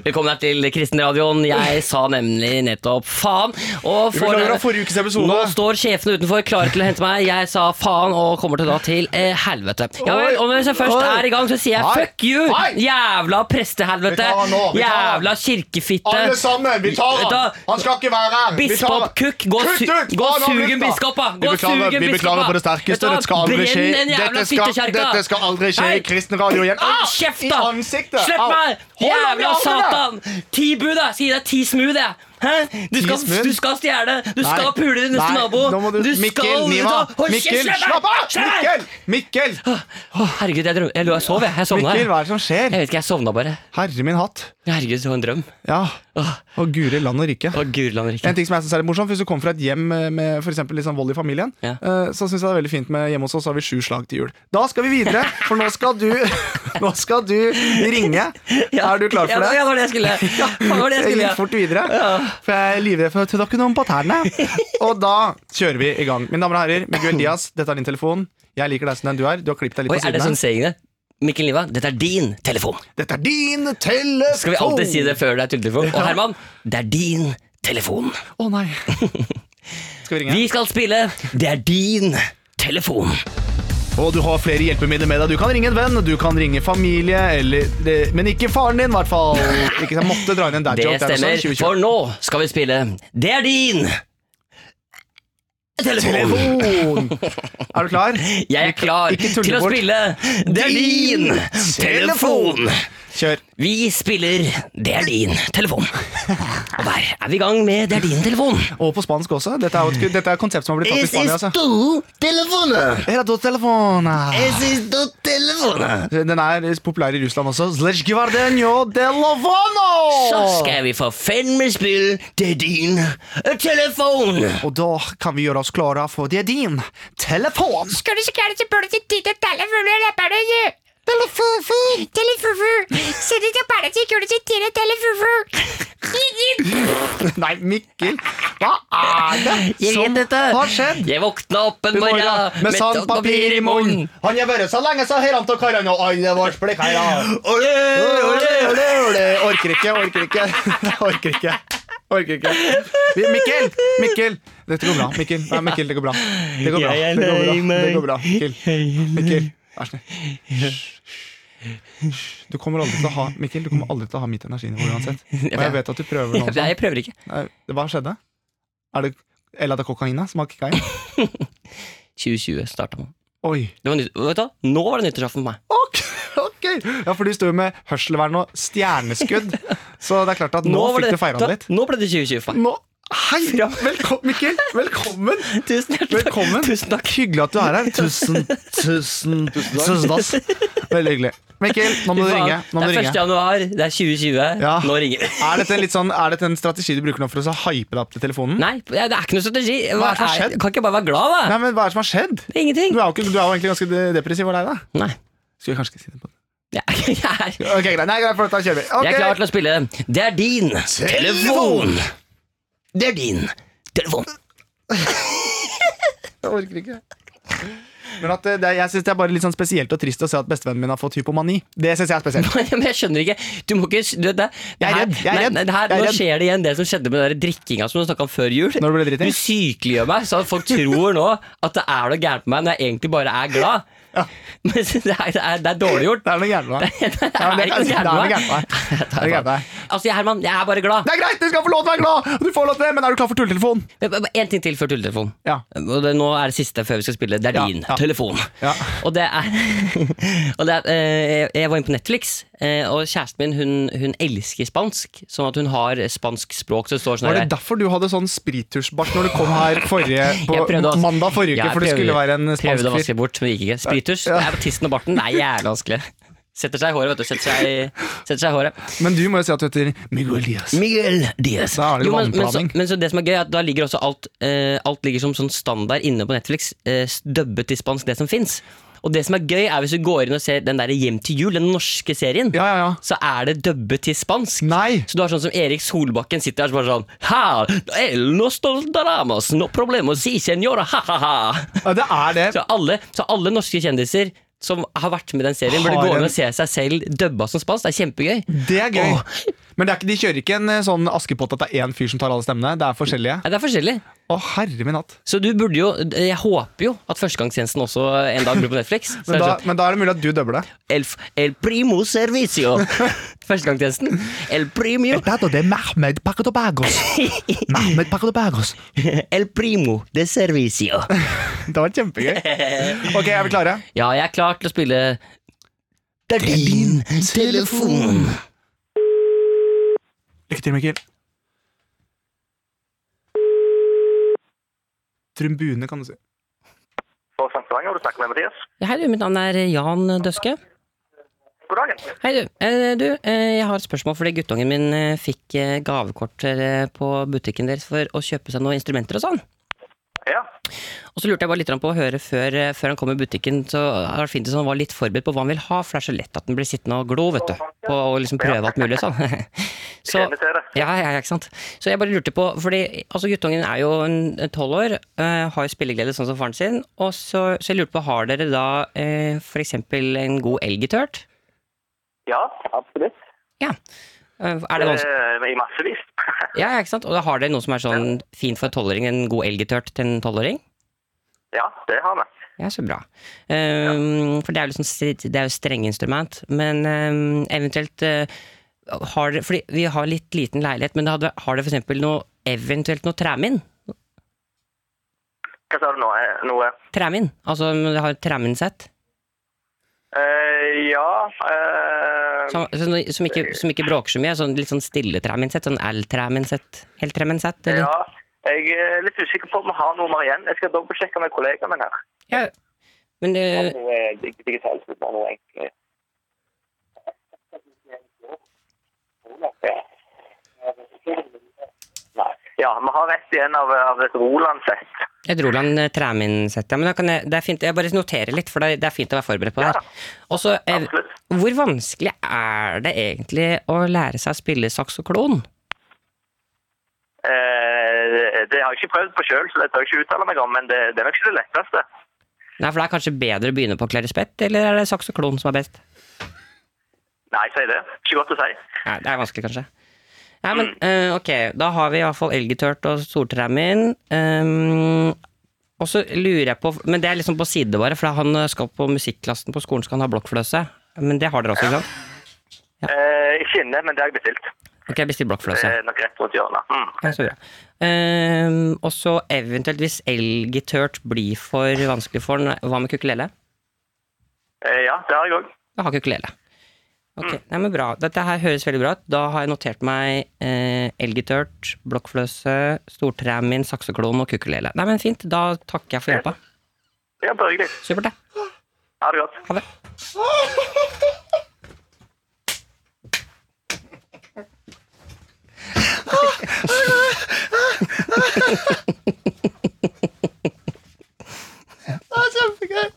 Velkommen her til Kristenradioen. Jeg sa nemlig nettopp faen. Og for, Beklager av forrige ukes episode. nå står sjefene utenfor klare til å hente meg. Jeg sa faen og kommer til da til eh, helvete. Ja vel, og hvis jeg først Oi. er i gang, så sier jeg Nei. fuck you! Nei. Jævla prestehelvete! Vi tar han nå, vi tar han. Jævla kirkefitte! sammen, vi tar Da- Han skal ikke være her! Vi tar Biskop han. Kukk, gå, Kutt su ut! gå Hva er nå sugen nytt, da? biskoppa! Gå Vi beklager- sugen Vi biskoppa! beklager på det Vet du sterkeste. hva? Dette skal aldri skje. Brenn den jævla Dette skal, fittekjerka! dette skal aldri skje i Hei! kristen radio igjen. Au, Au! kjeft, I da! ansiktet! Slipp Au! meg! Hold ham i Jævla armene! satan! Ti bud, da! Si deg ti smooth, jeg! Hæ? Du skal, smooth? du skal stjele, du skal Nei. pule din neste Nei, nabo nå må du, Mikkel, Niva! ta- Hold kjeft, Mikkel, slipp meg! slapp av! Slipp meg! Mikkel! Mikkel! Å, herregud, jeg, drøm, jeg, lå- jeg sov, jeg. Jeg sovna. Mikkel, Jeg. hva er det som skjer? jeg vet ikke, jeg sovna bare. Herre min hatt. Herregud, det var en drøm. Ja. Åh, Og guri land og rike. å, Gudland En Rikke. ting som jeg synes er litt morsomt Hvis du kommer fra et hjem eh, med for eksempel litt sånn vold i familien, Ja. eh, så syns jeg det er veldig fint med hjemme hos oss har vi sju slag til jul. Da skal vi videre, for nå skal du, [LAUGHS] nå skal du ringe. Ja. Er du klar for Ja, det? det var det jeg [LAUGHS] skulle. Ja, det var det jeg Jeg skulle. gikk fort videre, for jeg er livredd for å tråkke noen på tærne. Og da kjører vi i gang. Mine damer og herrer, Miguel Diaz, dette er din telefon. Jeg liker deg som den du er. Du har klippet deg litt Oi, på er det sånn siden. her. saying det? Mikkel Niva, dette er din telefon. Dette er din telefon! Skal vi alltid Oh. si det før det er tulletelefon? Og Herman, det er din telefon. Å nei. [LAUGHS] Skal vi ringe? Vi skal spille Det er din telefon. Og du har flere hjelpemidler med deg. Du kan ringe en venn, du kan ringe familie, eller, det- men ikke faren din, i hvert fall. Ikke, jeg måtte dra inn en dad Det joke. sånn. der stemmer, også, 2020. for nå skal vi spille Det er din telefon. Telefon! Er du klar? [LAUGHS] Jeg er klar ikke tulle til å bort. spille Det er din telefon. Kjør. Vi spiller Det er din telefon. Og der er vi i gang med Det er din telefon. Og på spansk også. Dette er, jo et, dette er et konsept som har blitt tatt i Spania. Altså. tu telefone. Era dos telefoner. es tu telefone. Den er populær i Russland også. Zlezj gvardenjo telefono! Så skal vi for fandme spille Det er din eh, telefon. Og da kan vi gjøre oss klare, for det er din telefon. [LAUGHS] Skal du så gjerne så burde du titte telefonen i leppene. Telefufu. Telefufu. Siden det bare så kunne du titte telefufu. Nei, Mikkel. Hva er det Jeg som vet dette. har skjedd? Jeg våkna opp en God morgen, morgen med sandpapir i munnen. Han har vært så lenge, så her han tar karene og alle våre blekker. Olé, olé, olé. Orker ikke, orker ikke. Orker ikke. Orker ikke. Vi- Mikkel! Mikkel! Dette går bra. Mikkel, Nei, Mikkel det går bra. Det går bra. Jeg er Det går bra. lei meg. Det går bra. Mikkel. Mikkel. Vær snill. Du kommer aldri til å ha Mikkel, du kommer aldri til å ha mitt energinivå uansett. Og jeg vet at du prøver nå Jeg, også. jeg prøver ikke. Nei, Hva skjedde? Er det Eller er det kokaina som har kicka inn? 2020 starta man. Oi. Det var nytt, vet du, hva? nå var det nyttårsaften for meg. Ok, ok Ja, for du sto jo med hørselvern og stjerneskudd. Så det er klart at nå, var fikk det- du feira det litt. Nå ble det 2020 [LAUGHS] for meg. Nå Hei! Velkommen, Mikkel! Velkommen! Tusen hjertelig takk. Velkommen. Tusen takk. Hyggelig at du [LAUGHS] er her. Tusen, tusen, tusen dass. Veldig hyggelig. Mikkel, nå må du Fy faen, ringe. Nå må det du er 1. ringe. januar, det er 2020. Ja. Nå ringer det. Er dette en, litt sånn, er dette en strategi du bruker nå for å så hype deg opp til telefonen? [LAUGHS] Nei, det er ikke noe strategi. Hva er det som har skjedd? Kan ikke jeg bare være glad, da? Nei, men Hva er det som har skjedd? Det er ingenting. Du er jo, ikke, du er jo egentlig ganske de- depressiv. Hva er deg, da? Nei. Skulle jeg kanskje ikke si det på det. Jeg, jeg, er, [LAUGHS] jeg Ok, greit. Nei, greit, for da kjører vi. Ok. er klar til å spille Det er din telefon. Det er din telefon. [LAUGHS] Jeg orker ikke. Men at eh, det, er- jeg synes det er bare litt sånn spesielt og trist å se at bestevennen min har fått hypomani. Det synes jeg [LAUGHS] er spesielt. Men jeg skjønner ikke. Du må ikke du, vet det, det Jeg er her- redd, jeg er nei, redd, nei, det her- jeg er Nå redd. skjer det igjen, det som skjedde med den der drikkinga som du snakka om før jul. Når du ble Du dritings? sykeliggjør meg, så folk tror nå at det er noe gærent med meg når jeg egentlig bare er glad. [LAUGHS] Men det er, det er, det er dårlig gjort. Det er noe gærent med [LAUGHS] deg. Det Ja, men er ikke det- noe det er gærent noe med gærent [LAUGHS] med meg. deg. Det er noe gærent med deg. Altså, Herman, jeg er bare glad. Det er greit, du skal få lov til å være glad! og Du får lov til det, men er du klar for tulletelefon? En ting til før tulletelefonen. Ja. Og det, nå er det siste før vi skal spille. Det er Ja, din ja. telefon. Ja. Og det er, [LAUGHS] og det er eh, Jeg var inne på Netflix, eh, og kjæresten min hun, hun elsker spansk. Sånn at hun har spansk språk. Så det står sånn Var det her- derfor du hadde sånn sprittusjbart når du kom her forrige, på [LAUGHS] Jeg prøvde å- mandag forrige uke? Ja, jeg for det prøvde- skulle være en Prøvde å spansk fyr. vaske bort, men det gikk ikke. Sprittusj. Det er på tissen og barten. Det er jævlig vanskelig. Setter seg i håret, vet du. Setter seg i, setter seg i håret. Men du må jo si at du heter Miguel Diaz. Miguel Diaz. Da er det Jo, men, men, så, vannplaning. men så det som er gøy, er at da ligger også alt, eh, alt ligger som sånn standard inne på Netflix, eh, dubbet til spansk, det som fins. Og det som er gøy, er hvis du går inn og ser den der Hjem til jul, den norske serien, Ja, ja, ja. så er det dubbet til spansk. Nei! Så du har sånn som Erik Solbakken sitter her så bare sånn Ha! El no stoltaramos, no problemo, si senora, ha-ha-ha. Ja, det er det. Så alle, så alle norske kjendiser som har vært med i den serien, burde Har gå en- inn og se seg selv dubba som spansk. Det er kjempegøy. Det er gøy. Åh. Men det er ikke, de kjører ikke en eh, sånn Askepott at det er én fyr som tar alle stemmene. Det er forskjellige. Nei, Det er forskjellig. Å, herre min hatt. Så du burde jo Jeg håper jo at Førstegangstjenesten også en dag blir på Netflix. Så [LAUGHS] Men det er da, sånn, men da er det mulig at du dubber det. el, el primo servicio. [LAUGHS] Førstegangstjenesten. El primio. Dato de Mehmed Pakadobagos. [LAUGHS] Mehmed Pakadobagos. El primo de servicio. [LAUGHS] Det var kjempegøy. Ok, er vi klare? Ja, jeg er klar til å spille Det er din telefon. Lykke til, Mikkel. Trumbune, kan du si. på St. Stavanger. Du snakker med Mathias. Ja, Hei, du. Mitt navn er Jan Døske. God dagen. Hei, du. Eh, du, eh, jeg har et spørsmål fordi guttungen min eh, fikk eh, gavekort eh, på butikken deres for å kjøpe seg noen instrumenter og sånn. Ja. Og så lurte jeg bare litt på å høre før, eh, før han kom i butikken, så hadde det vært fint hvis han var litt forberedt på hva han vil ha, for det er så lett at han blir sittende og glo, vet du. På å liksom prøve alt mulig sånn. [LAUGHS] Så, Kjenner til det. ja, ja, ja, ikke sant. Så jeg bare lurte på, fordi altså, guttungen er jo en- en tolv år, eh, har jo spilleglede sånn som faren sin, og så, så jeg lurte på, har dere da eh, for eksempel en god elgitørt? Ja, absolutt. Ja. Eh, er det vanskelig? Eh, I massevis. Ja, ja, ikke sant? Og da har dere noe som er sånn fint for en tolvåring, en god elgitørt til en tolvåring? ja, det har vi. Ja, så bra. Ehm, For det er jo liksom strid- det er jo strenginstrument. Men ehm, eventuelt eh, har dere Fordi vi har litt liten leilighet, men det hadde, har dere for eksempel noe Eventuelt noe træmin? Hva sa du nå? Eh, Noe? Træmin, altså om dere har et træminsett Eh, ja eh, som, som, som, ikke, som ikke bråker så mye. Sånn, litt sånn stille træminsett. Sånn L-træminsett. Helt-træminsett, eller? Ja. Jeg er litt usikker på om vi har nummer igjen. Jeg skal dobbeltsjekke med kollegaen min her. Ja. Men Om eh, noe dig- digitalt vil være noe enkelt. Nei. Ja, vi har rett igjen av, av et Roland-sett. Jeg dro land træminsett. Ja, men da kan jeg, det er fint. Jeg bare noterer litt, for det er- det er fint å være forberedt på det her. Og så eh, Absolutt. Hvor vanskelig er det egentlig å lære seg å spille saksoklon? Eh, det har jeg ikke prøvd på sjøl, så det tør jeg ikke uttale meg om. Men det, det er nok ikke det letteste. Nei, for det er kanskje bedre å begynne på klarispett, eller er det saksoklon som er best? Nei, si det. Ikke godt å si. Nei, det er vanskelig, kanskje. Nei, men eh, ok, da har vi i hvert fall elgitørt og stortremin. Um, og så lurer jeg på, men det er liksom på side bare, for han skal på musikklassen på skolen, skal han ha blokkfløse. Men det har dere også, ikke sant? Eh, ikke inne, men det har jeg bestilt. Ok, bestill Det blokkfløte. er nok rett rundt hjørnet. Mm. Ja, så bra. Ehm, og så eventuelt, hvis elgitørt blir for vanskelig for den, hva med kukulele? Eh, ja, det har jeg òg. Jeg har kukulele. Mm. Ok, nei, men bra. Dette her høres veldig bra ut. Da har jeg notert meg eh, elgitørt, blokkfløse, stortreen min, sakseklon og kukulele. Nei, men fint. Da takker jeg for hjelpa. Ja, bare hyggelig. Supert, det. Ha det godt. Ha det. Det er kjempegøy!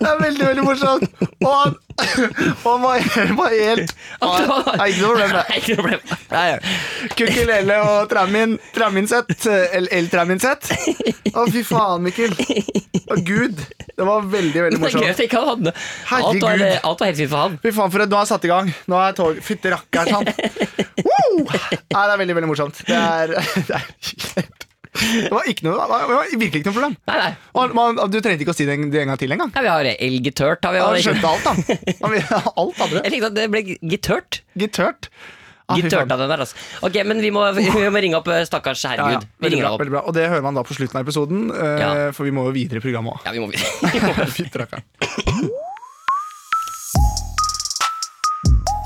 Det er veldig, veldig morsomt. Og han, og han [LAUGHS] var, helt- var helt Det er ikke noe problem, det. Nei, ikke noe problem. Nei, ja. Kukulele og Tramin Traminsett. El-Traminsett. Å, fy faen, Mikkel. Å, gud. Det var veldig, Det er veldig gøy morsomt. at ikke han hadde alt var, Herregud. alt var helt fint for han. Fy faen, for et, nå har jeg satt i gang. Nå er jeg tog... Fytti rakkeren, sant. [LAUGHS] Woo! Nei, det er veldig, veldig morsomt. Det er, [LAUGHS] det er det var, ikke noe, det var det var virkelig ikke noe problem. Nei, nei. Og Man, du trengte ikke å si det en, det en gang til engang. Ja, vi har elgitørt. Har vi, Han har vi ikke- skjønte alt, da. Han, [LAUGHS] alt hadde det. jeg likte at det ble gitørt. Gitørt. Ah, fy faen. Gitørt av den der, altså. Ok, men vi må, [LAUGHS] vi må ringe opp eh, stakkars Ja, ja. herregud. Vi Veldig ringer bra, han opp. veldig bra. Og det hører man da på slutten av episoden, eh, Ja. for vi må jo videre i programmet òg. Ja, vi må [LAUGHS] Fytti rakkeren.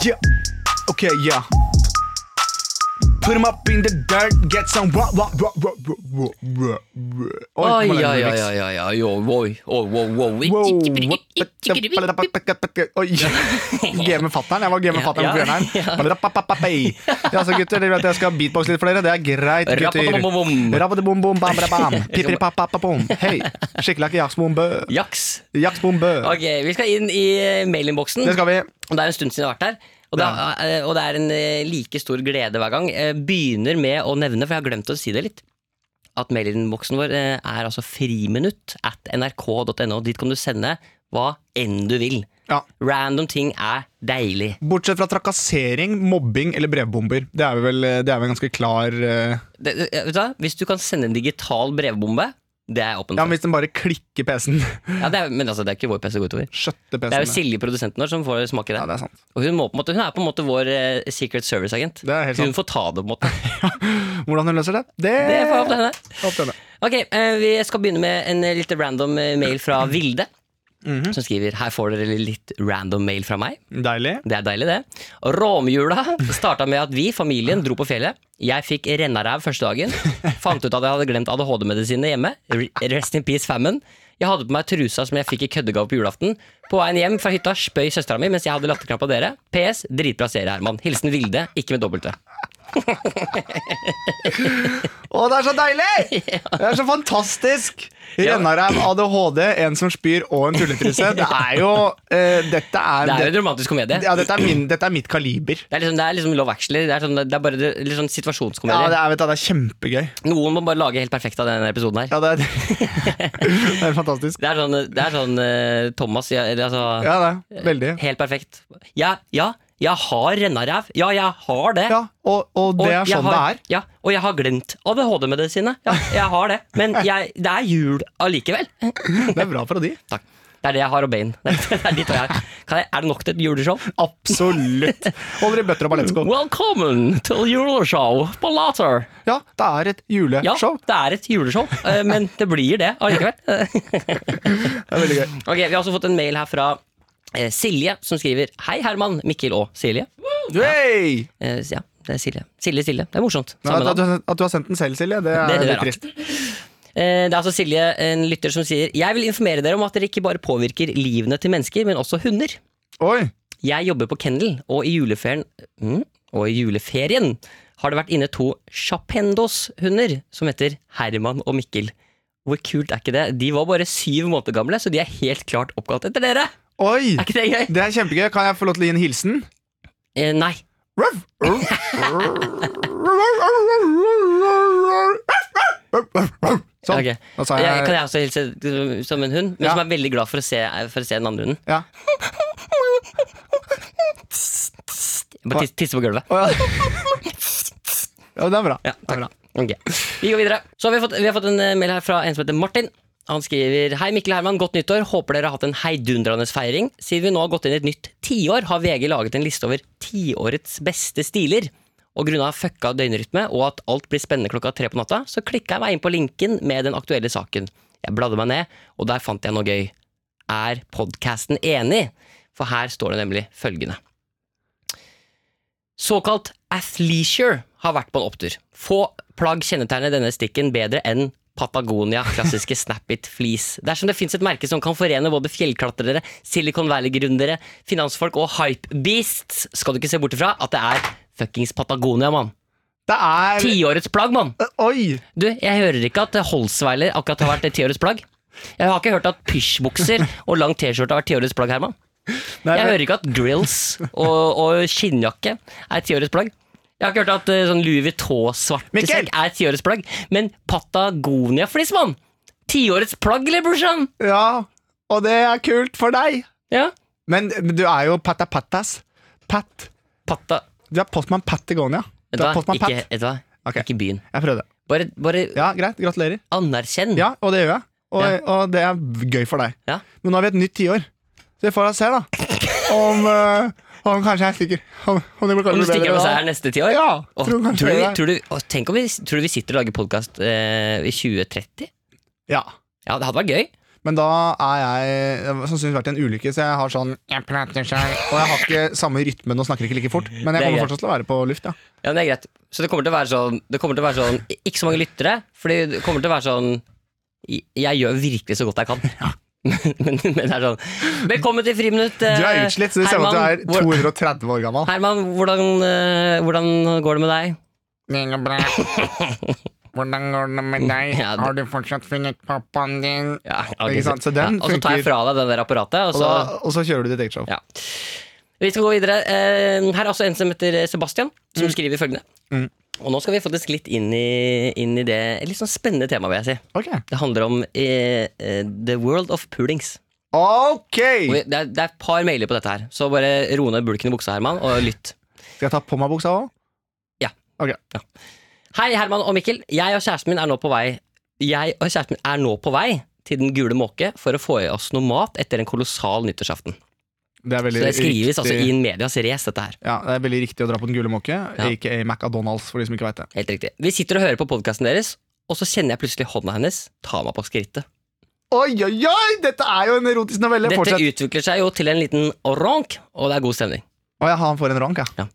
Yeah. Okay, yeah. Put 'em up in the dirt, get some wah, wah, wah, wah, wah, wah, wah. Oi, må oi, lage oi, remix. oi, oi, oi, oi, oi, oi, oi, Wow. oi. [LAUGHS] Oi. [LAUGHS] Game fatter'n. Jeg var game fatter'n Ja, på Bjørnheim. Ja, så gutter, dere vet at jeg skal beatboxe litt for dere. Det er greit, Rappadabombom. gutter. Rappadabombom, bam, bam, [LAUGHS] bam. Pipperipappapapom. Hei. Skikkelig jaksbombe. Jaks. Jaksbombe. Ok, vi skal inn i eh, mailinnboksen. Det skal vi. Og Det er en stund siden jeg har vært her. Og det, er, eh, og det er en eh, like stor glede hver gang. Eh, Begynner med å nevne, for jeg har glemt å si det litt, at mailinnboksen vår eh, er altså friminutt at nrk.no. Dit kan du sende hva enn du vil. Ja. Random ting er deilig. Bortsett fra trakassering, mobbing eller brevbomber. Det er vel, det er vel ganske klar eh, Det, det- vet du hva? Hvis du kan sende en digital brevbombe, det er åpent. Ja, for. men hvis den bare klikker PC-en. Ja, det er, men altså, det er ikke vår PC det går utover. [LAUGHS] Skjøtte Det er jo PC-en. Silje, produsenten vår, som får smake det. Ja, det er sant. Og hun, må på en måte, hun er på en måte vår eh, Secret Service-agent. Det er helt Hun sant. får ta det, på en måte. Hvordan hun løser det? Det, Det får jeg opp til henne. opp til henne. Ok, eh, Vi skal begynne med en eh, litt random eh, mail fra Vilde. Mhm. Som skriver her får dere litt random mail fra meg. Deilig. Det er deilig, det. Romjula starta med at vi, familien, dro på fjellet. Jeg fikk rennaræv første dagen. Fant ut at jeg hadde glemt ADHD-medisinene hjemme. Re- Rest in peace, famine. Jeg hadde på meg trusa som jeg fikk i køddegave på julaften. På veien hjem fra hytta spøy søstera mi mens jeg hadde latterkramp av dere. PS. Dritbra serie, Herman. Hilsen Vilde, ikke med dobbelt V. Å, det er så [LAUGHS] deilig! Det er så fantastisk! Rennarev, ADHD, en som spyr og en tulletruse. Det er jo eh, Dette er, Det er jo det, en romantisk komedie. ja, dette, er min, dette er mitt kaliber. Det er liksom, det er liksom Love Actually. Det er, sånn, det er bare det- litt sånn situasjonskomedie. Ja, det er, vet du, det er kjempegøy. Noen må bare lage helt perfekt av denne episoden her. Ja, det er, [LAUGHS] det er fantastisk. Det er sånn, det er sånn eh, Thomas ja, eller altså, Ja, det er veldig. Helt perfekt. Ja, ja, jeg har rennaræv. Ja, jeg har det. Ja, og, og det er jeg sånn det har, er. Ja, og jeg har glemt ADHD-medisinet. Ja, jeg har det. Men jeg, det er jul allikevel. Det er bra parodi. Takk. Det er det jeg har og Bane. [LAUGHS] Det er ditt og jeg. Kan jeg, er det nok til et juleshow? Absolutt. Holder i bøtter og ballettsko. Welcome til juleshow på Latter. Ja, det er et Ja, juleshow. det er et juleshow, eh, men det blir det allikevel. [LAUGHS] Det er veldig gøy. Ok, Vi har også fått en mail her fra eh, Silje, som skriver Hei, Herman, Mikkel og Silje. Hey! Eh, ja, det er Silje. Silje, Silje. Det er morsomt. Nei, Samme at, navn. du, at du har sendt den selv, Silje, det er Det er litt rart. trist. Eh, det er altså Silje, en lytter, som sier Jeg vil informere dere om at dere ikke bare påvirker livene til mennesker, men også hunder. Oi! Jeg jobber på kennel, og i juleferien mm, Og i juleferien har det vært inne to Chapendos-hunder som heter Herman og Mikkel. Hvor kult er ikke det? De var bare syv måneder gamle, så de er helt klart oppkalt etter dere. Oi! Er ikke det gøy? Det er kjempegøy. Kan jeg få lov til å gi en hilsen? Eh, nei. Ruff. Sånn. Ok. Da sa Eh, Kan jeg jeg også hilse uh, som en hund, men Ja. som er veldig glad for å se, for å se den andre hunden? Ja. Jeg Bare tis- tisse på gulvet. Å, ja. Ja, det er bra. Ja, Det er bra. Ok, Vi går videre. Så har vi fått, vi har fått en eh, mail her fra en som heter Martin. Han skriver Hei Mikkel og Herman, godt nyttår. Håper dere har hatt en heidundrende feiring. Siden vi nå har gått inn i et nytt tiår, har VG laget en liste over tiårets beste stiler. Og grunna fucka døgnrytme og at alt blir spennende klokka tre på natta, så klikka jeg meg inn på linken med den aktuelle saken. Jeg bladde meg ned, og der fant jeg noe gøy. Er podkasten enig? For her står det nemlig følgende. Såkalt athleisure har vært på en opptur. Få plagg kjennetegner denne stikken bedre enn Patagonia, klassiske Snap-it fleece. Dersom det fins et merke som kan forene både fjellklatrere, Silicon Valley-gründere, finansfolk og hypebeasts, skal du ikke se bort ifra at det er fuckings Patagonia, mann. Det er Tiårets plagg, mann! Oi! Du, jeg hører ikke at Holsweiler akkurat har vært et tiårets plagg. Jeg har ikke hørt at pysjbukser og lang T-skjorte har vært tiårets plagg, Herman. Nei, Jeg men- hører ikke at grills og, og skinnjakke er tiårets plagg. Jeg har ikke hørt at eh, sånn Louis Vuitton-svarte Mikkel! sekk er tiårets plagg. Men Patagonia-flis, mann! Tiårets plagg, eller, brorsan? Ja, og det er kult for deg. Ja. Men men du er jo patapattas. Pat. Pata... Du er Postman Patagonia. Vet du Du er hva? Postman Ikke, Pat. vet du hva? Ok. ikke byen. Jeg prøvde. Bare, bare Ja, greit. Gratulerer. anerkjenn. Ja, og det gjør jeg. Og, Ja. og det er gøy for deg. Ja. Men nå har vi et nytt tiår. Så vi får da se, da. Om, eh, om kanskje jeg stikker. Om, om det Om blir du kanskje stikker av med bedre seier neste tiår? Ja, Åh, tror kanskje tror du, det. tror du, åh, tenk om vi, tror du vi sitter og lager podkast eh, i 2030? Ja. Ja, det hadde vært gøy. Men da er jeg det har sannsynligvis vært en ulykke, så jeg har sånn jeg prater selv, Og jeg har ikke samme rytmen og snakker ikke like fort. Det Men jeg er kommer greit. fortsatt til å være på luft, ja. Ja, men det er greit. Så det kommer til å være sånn, det kommer til å være sånn Ikke så mange lyttere, Fordi det kommer til å være sånn Jeg jeg gjør virkelig så godt jeg [LAUGHS] kan. Men, men det er sånn Velkommen til Friminutt. eh, Du er utslitt, så det ser ut som du er hvor- 230 år gammel. Herman, hvordan, eh, hvordan går det med deg? Det går bra. Hvordan går det med deg? Ja, det- Har du fortsatt funnet pappaen din? Ja, ok, Ikke sant, så den ja, og så tar jeg funker. fra deg den der apparatet, og Og, da, så og så kjører du ditt eget show. Ja. Vi skal gå videre. Eh, Her er også en som heter Sebastian, som skriver følgende. Mm. Og nå skal vi faktisk litt inn i, inn i det litt sånn spennende temaet, vil jeg si. Ok. Det handler om eh, eh, The World of Poolings. Ok! Og vi- Det er, det er et par mailer på dette her, så bare ro ned bulken i buksa, Herman, og lytt. Skal jeg ta på meg buksa òg? Hei, Herman og Mikkel. Jeg og kjæresten min er nå på vei Jeg og kjæresten min er nå på vei til Den gule måke for å få i oss noe mat etter en kolossal nyttårsaften. Det er Så veldig det skrives altså riktig- i medias race, dette her. Ja, det er veldig riktig å dra på Den gule måke, aka McDonald's, for de som ikke veit det. Helt riktig. Vi sitter og hører på podkasten deres, og så kjenner jeg plutselig hånda hennes ta meg på skrittet. Oi, oi, oi! Dette er jo en erotisk novelle! Dette Fortsett. utvikler seg jo til en liten ronk, og det er god stemning. Å, jeg har han for en rank, ja.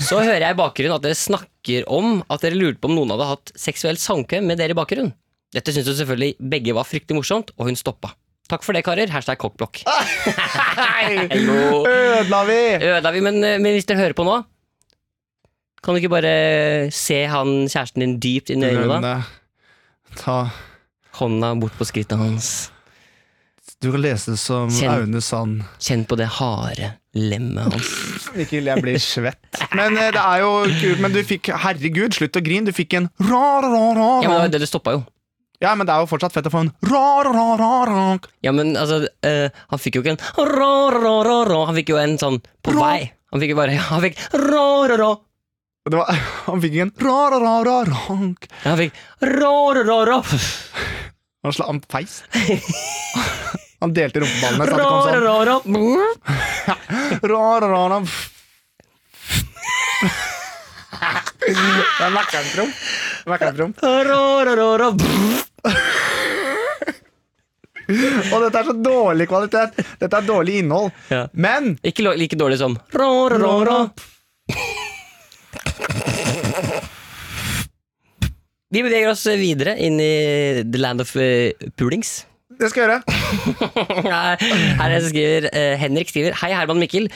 Så hører jeg i bakgrunnen at dere snakker om at dere lurte på om noen hadde hatt seksuelt samkvem med dere i bakgrunnen. Dette syntes jo selvfølgelig begge var fryktelig morsomt, og hun stoppa. Takk for det, karer. Hashtag cockblock. [LAUGHS] Hei! Jo, Ødela vi! Ødela vi, men, eh, men hvis dere hører på nå Kan du ikke bare se han kjæresten din dypt inn i øynene? da? Men, eh, Ta Hånda bort på skrittet hans. Du kan lese det som Kjenn. Aune Sand. Kjenn på det harde lemmet hans. Mikkel, jeg blir svett. Men eh, det er jo kult. Men du fikk Herregud, slutt å grine. Du fikk en Ja, men det ra-ra-ra-ra. var jo det du stoppa jo. Ja, men det er jo fortsatt fett å få en ra-ra-ra-ra. Ja, men altså, eh, han fikk jo ikke en rå, rå, rå, rå. Han fikk jo en sånn på Rå. vei. Han fikk jo bare Han fikk rå, rå, rå. Det var, [LAUGHS] han fikk ikke en ra-ra-ra-ra-rank. Han fikk rå, rå, rå, rå. Han, sla, han feis. Han delte rumpeballene. Så Rå, det kom sånn rå, rå, rå. ra-ra-ra-ra. Det er Mækkernpromp. Mækkernpromp. Rå, rå, rå, rå. Og dette er så dårlig kvalitet. Dette er dårlig innhold. Ja. Men Ikke lo- like dårlig som rå, rå, rå, rå. Vi beveger oss videre inn i the land of eh, poolings. [LAUGHS] det skal jeg gjøre. Her er det en som skriver eh, Henrik skriver Hei Herman og Mikkel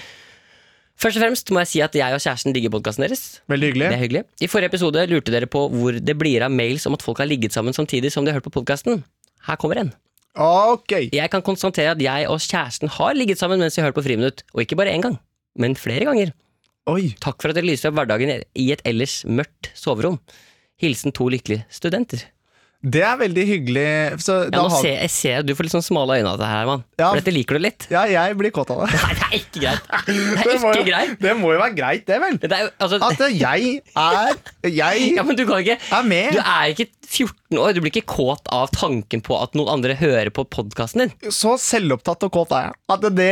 Først og fremst må jeg si at jeg og kjæresten digger podcasten deres Veldig hyggelig. Det er hyggelig I forrige episode lurte dere på hvor det blir av mails Om at folk har ligget sammen samtidig som de har hørt på podcasten Her kommer en Ok. Jeg kan konstatere at jeg og kjæresten har ligget sammen Mens vi har hørt på friminutt Og ikke bare en gang, men flere ganger Oi. Takk for at dere lyser opp hverdagen i et ellers mørkt soverom Hilsen to lykkelige studenter Det er veldig hyggelig. Så Ja, da nå har- ser, jeg ser at du får litt sånn smale øyne av det her, Herman. Ja. For dette liker du litt. ja, jeg blir kåt av [LAUGHS] det. Nei, det er ikke greit. Det er Det må, ikke jo, greit. det må jo være greit, det, vel? Det er jo, altså, At jeg er ja, Jeg men du kan ikke er Du med. er ikke 14 år, du blir ikke kåt av tanken på at noen andre hører på podkasten din. Så selvopptatt og kåt er jeg. At det,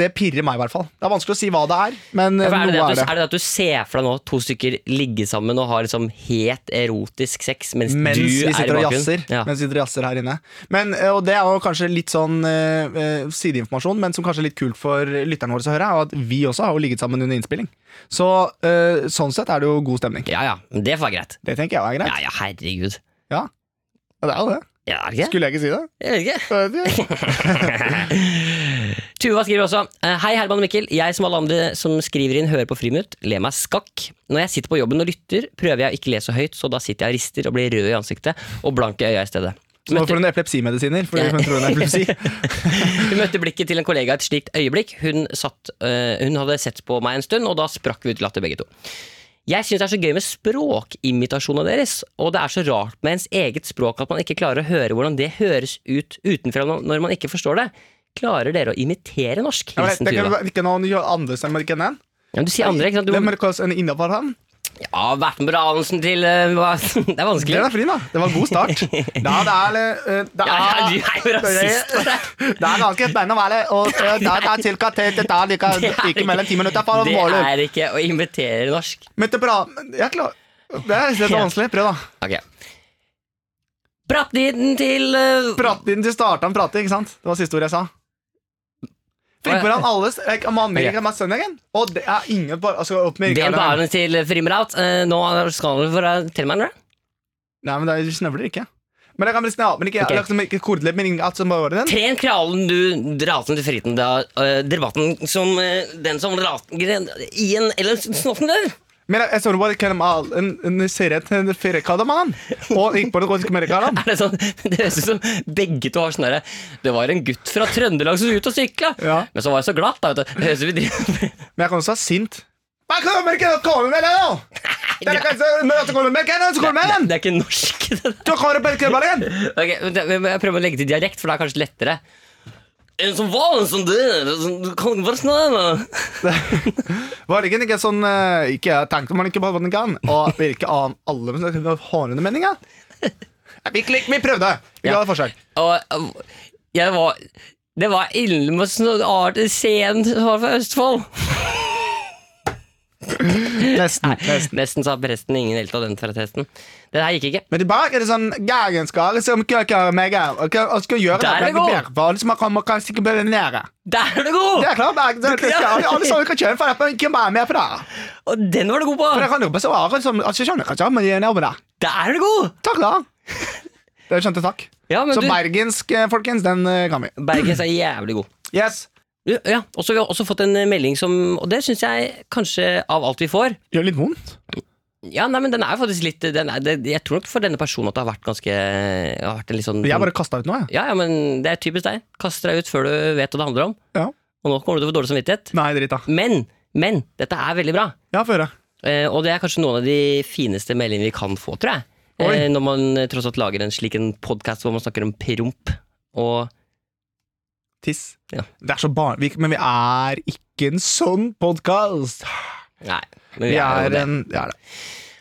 det pirrer meg, i hvert fall. Det er vanskelig å si hva det er, men For Er det, det noe at du, er det. er det at du ser for deg nå to stykker ligge sammen og har liksom het erotisk sex mens, Mens du vi er i sitter og bakgrunnen? jazzer. Ja. Mens vi sitter og jazzer her inne. Men, eh, og det er jo kanskje litt sånn eh, eh, sideinformasjon, men som kanskje er litt kult for lytterne våre å høre, er jo at vi også har jo ligget sammen under innspilling. Så eh, sånn sett er det jo god stemning. ja ja, det var greit. Det tenker jeg er greit. Ja ja, herregud. Ja, det er jo det. Ja, er det ikke? Skulle jeg ikke si det? Jeg vet ikke. Jeg vet [LAUGHS] ikke. Tuva skriver også eh, Hei Herman og Mikkel, jeg som alle andre som skriver inn hører på friminutt, ler meg skakk. Når jeg sitter på jobben og lytter, prøver jeg å ikke le så høyt, så da sitter jeg og rister og blir rød i ansiktet og blank i øya i stedet. Så nå får hun epilepsimedisiner, fordi hun tror hun [LAUGHS] er epilepsi. Hun møtte blikket til en kollega et slikt øyeblikk. Hun, satt, eh, hun hadde sett på meg en stund, og da sprakk vi ut i latter begge to. Jeg syns det er så gøy med språkimitasjonene deres, og det er så rart med ens eget språk at man ikke klarer å høre hvordan det høres ut utenfra når- når man ikke forstår det. Klarer dere å imitere norsk? Ja, men Hilsen Det kan Tuva. være- ikke noen andre stemmer ikke enn den. Ja, men du sier andre, ikke sant? Du, Det må kalles en innafor han. ja, Berten Bransen til eh, hva- [LAUGHS] Det er Den er vanskelig. fin, da. Det var god [LAUGHS] start. Da, det er eh, det er Ja, ja, du er jo rasist. [LAUGHS] Det er ganske spennende å være og, eh, det er- det er cirka til det tar like, [LAUGHS] Det er ikke mellom ti minutter for å Det måle. er ikke å imitere norsk. Men det er bra. Jeg klarer det er litt vanskelig. Prøv, da. Ok. Prattiden til eh, Prate inn til starta han prater, ikke sant? Det var siste ordet jeg sa. Flink hvordan alle Jeg kan manne Ok. ikke meg søndagen. Og det er ingen bare altså, opp med Det er Rikard. bare til Frimraut. Eh, Nå skal du fra Telemark, da? Nei, men det er- snøvler ikke. Men jeg kan bli snø, men ikke, Ok. liksom, ikke kortledd, men ingen- at som bare var den. Tren kralen du rasen til friten da eh, Debatten som eh, den som rasen i en eller snotten der. Men jeg, jeg så bare hvem all- en, en serie til en firkada mann. Og gikk på det gotiske merkeland. Er det sånn? [LAUGHS] Det høres ut som begge to har sånn herre Det var en gutt fra Trøndelag som var ute og sykla, Ja. men så var det så glatt, da, vet du. Det høres ut som vi driver Men jeg kan også være sint. Men kommer ikke noe kommer med det, da! Det er ikke så- men at det kommer med, hva er det som kommer med [LAUGHS] den? Det er ikke norsk. det der. Da kommer det bare ikke bare igjen. Ok, men det- men Jeg prøver å legge til dialekt, for det er kanskje lettere. En som var en sånn der som- Du kan bare snakke Var det ikke ikke sånn eh, Ikke jeg tenkte man ikke på hva den kan, og virke av alle med sånne hårende meninger? Ja, Vi, klik- vi prøvde. Vi Ja. ga det forsøk. Og og jeg var Det var Ilmes Art Sen som var fra Østfold. Nesten. nesten. [LAUGHS] Nesten sa presten ingen helt av den fra testen. Det her gikk ikke. Men tilbake er det sånn Gagenskare som køker meg her, og hva og skal gjøre Der det. er det men ikke god. bedre, for alle som har kommet, kan sikkert bli nære. Der er du god! Det er klart, Berg. Det er klart. Ja. Alle sammen kan kjøre for deg, ikke bare med på det. Og den var du god på! For jeg kan jo bare svare som altså, jeg skjønner kanskje, men jeg er nærmere deg. Der er du god! Takk, da. Det skjønte takk. Ja, men Så du, bergensk, eh, folkens, den eh, kan vi. Bergens er jævlig god. Yes. Ja, ja. Og så har vi også fått en eh, melding som Og det syns jeg kanskje av alt vi får Gjør litt vondt. Ja, nei, men den er jo faktisk litt den er, det, Jeg tror nok for denne personen at det har vært ganske har vært en litt sånn Jeg bare kasta ut noe, jeg. Ja, ja, men det er typisk deg. Kaster deg ut før du vet hva det handler om. Ja. Og nå kommer du til å få dårlig samvittighet. Nei, drit, da. Men, men, dette er veldig bra. Ja, få høre. Eh, og det er kanskje noen av de fineste meldingene vi kan få, tror jeg. Eh, Oi. når man eh, tross alt lager en slik en podkast hvor man snakker om promp. Og Tiss. Ja. Det er så barn... Vi, men vi er ikke en sånn podkast. Nei. Men Vi jo er det. en ja, det.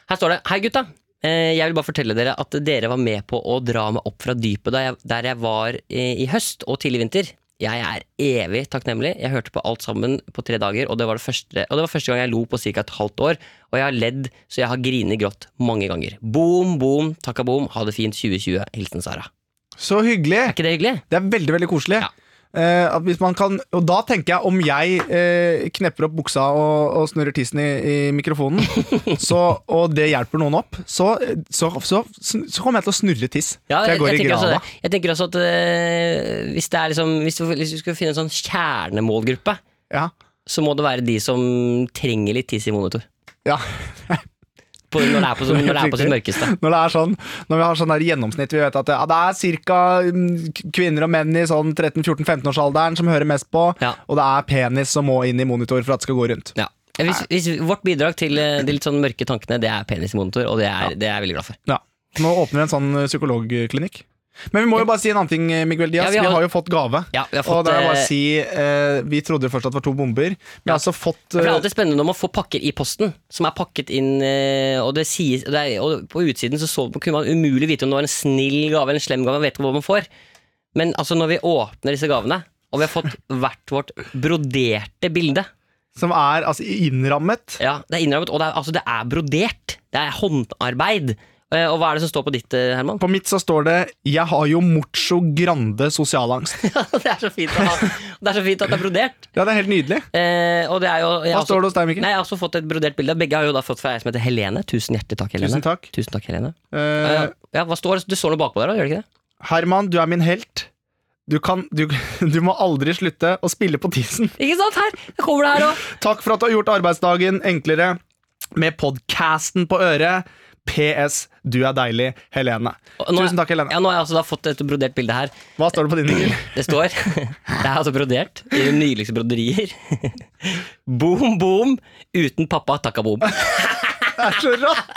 Her står det. Hei, gutta. Eh, jeg vil bare fortelle dere at dere var med på å dra meg opp fra dypet da jeg, der jeg var eh, i høst og tidlig vinter. Jeg er evig takknemlig. Jeg hørte på alt sammen på tre dager, og det var, det første, og det var første gang jeg lo på ca. et halvt år. Og jeg har ledd så jeg har grinet grått mange ganger. Boom, boom, takka boom. Ha det fint 2020. Hilsen Sara. Så hyggelig. Er ikke det hyggelig? Det er veldig, veldig koselig. Ja. Eh, at hvis man kan, og da tenker jeg om jeg eh, knepper opp buksa og, og snurrer tissen i, i [LAUGHS] mikrofonen, så, og det hjelper noen opp, så, så, så, så kommer jeg til å snurre tiss. Ja, for jeg går i tenker også grava. det. jeg tenker også at eh, hvis, det er liksom, hvis, du, hvis du skulle finne en sånn kjernemålgruppe, Ja. så må det være de som trenger litt tiss i monitor. ja. [LAUGHS] På, når det er på, når det er på sitt mørkeste. Når det er sånn Når vi har sånn der gjennomsnitt Vi vet at det, ja, det er ca. kvinner og menn i sånn 13-14-15-årsalderen som hører mest på, Ja. og det er penis som må inn i monitor for at det skal gå rundt. Ja. Hvis, hvis vårt bidrag til eh, de litt sånn mørke tankene, det er penis i monitor, og det er, det er jeg veldig glad for. Ja. Nå åpner vi en sånn eh, psykologklinikk. Men vi må jo bare si en annen ting, eh, Miguel Ja, Diaz. vi, vi har... har- jo fått gave. Ja, vi har og fått, da er det bare eh, å si eh, Vi trodde jo først at det var to bomber. Vi har altså fått For Det er eh, alltid spennende når man får pakker i posten, som er pakket inn eh, Og, det sies, det er, og på utsiden så, så kunne man umulig vite om det var en snill gave eller en slem gave. Man vet ikke hva man får. Men altså når vi åpner disse gavene, og vi har fått hvert vårt broderte bilde som er altså, innrammet. Ja, Det er innrammet, og det er, altså, det er brodert. Det er håndarbeid. Eh, og hva er det som står på ditt, eh, Herman? [LAUGHS] På mitt så står det 'Jeg har jo mucho grande sosialangst'. det, er så fint å ha. det er så fint at det er brodert. Ja, det er helt nydelig. Eh, og det er jo jeg har Hva også- står det hos deg, Mikkel? Nei, Jeg har også fått et brodert bilde. Begge har jo da fått fra ei som heter Helene. Tusen hjertelig takk, Helene. Tusen takk. Tusen takk, Helene. Eh, [LAUGHS] Ja, ja, hva står det? Du står noe bakpå der, da, gjør det ikke det? Herman, du er min helt. Du, kan, du, [LAUGHS] du må aldri slutte å spille på tisen. Ikke sant? Her jeg kommer det [LAUGHS] her òg. Takk for at du har gjort arbeidsdagen enklere med podcasten på øret. PS. Du er deilig, Helene. Tusen takk, Helene. Ja, nå har jeg altså da fått et brodert bilde her. Hva står det [LAUGHS] på din bil? Det står [LAUGHS] Det er altså brodert i de nydeligste broderier. [LAUGHS] Boom, boom. Uten pappa, takka boom. Det er så rått!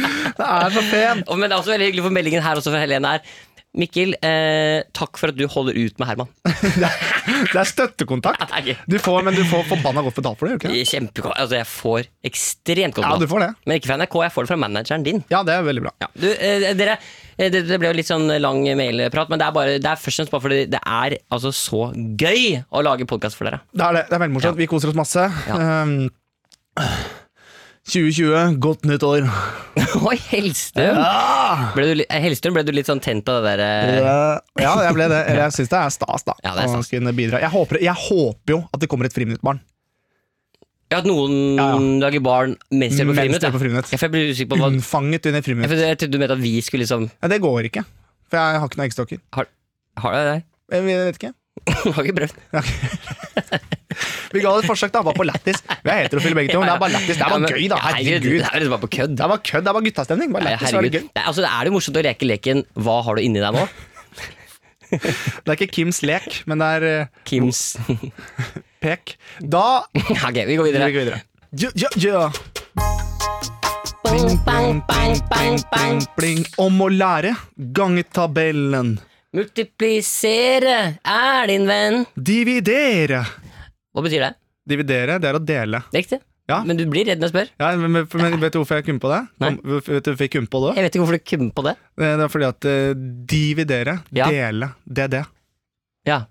Det er så [LAUGHS] pent. Og, men det er også veldig hyggelig for meldingen her også fra Helene her. Mikkel, eh, takk for at du holder ut med [LAUGHS] Herman. Det er, det er støttekontakt. Det er gøy. Du får, men du får forbanna godt betalt for det, gjør du ikke det? Kjempegod. Altså, jeg får ekstremt godt Ja, du mat. får det. Men ikke fra NRK, jeg får det fra manageren din. Ja, det er veldig bra. Du, eh, dere, eh, det, det ble jo litt sånn lang mailprat, men det er, bare, det er først og fremst bare fordi det er altså så gøy å lage podkast for dere. [LAUGHS] Det er det. Det er veldig morsomt. Vi koser oss masse. [SIGHS] Um, 2020, godt nytt år. Oi, Hellstrøm! Ble du, li- eh, Hellstrøm, ble du litt sånn tent av det der eh, Ja, jeg ble det. Eller jeg syns det er stas, da. Ja, det er å stas. kunne bidra. Jeg håper, jeg håper jo at det kommer et friminuttbarn. ja, At noen Eh, Ja, ja. lager barn mens de er på Mens friminutt? de er på ja. friminutt. Mm. Ja, for jeg blir usikker på hva jeg, Unnfanget under friminutt. jeg trodde du mente at vi skulle liksom Ja, det går ikke. For jeg har ikke noen eggstokker. Har du det? [LAUGHS] Jeg vet ikke. Har ikke prøvd. Vi ga det et forsøk, da. Bare på lættis. Vi er heterofile begge to. Men det er bare lættis. Det er Ja, men- bare gøy, da. ja, Herregud. Det er liksom bare på kødd. Det er bare kødd. Det er bare guttastemning. Bare Ja, lættis, så er herregud. det gøy. Det er, altså, det er jo morsomt å leke leken 'hva har du inni deg nå'? Det er ikke Kims lek, men det er eh, Kims pek. Da Ja, [LAUGHS] Ok, vi går Vi videre. går videre. Ja, ja, ja. Bling, bling, bling, bling, bling, bling. Om å lære gangetabellen. Multiplisere er din venn. Dividere. Hva betyr det? Dividere, det er å dele. Riktig? Ja. Men du blir redd når jeg spør. Ja, men, men, men Vet du hvorfor jeg kunne på det? Nei. Om- Vet du hvorfor jeg kunne på det? Jeg vet ikke hvorfor du kom på det. Det det er fordi at eh, dividere, Ja. dele, det er det. Ja,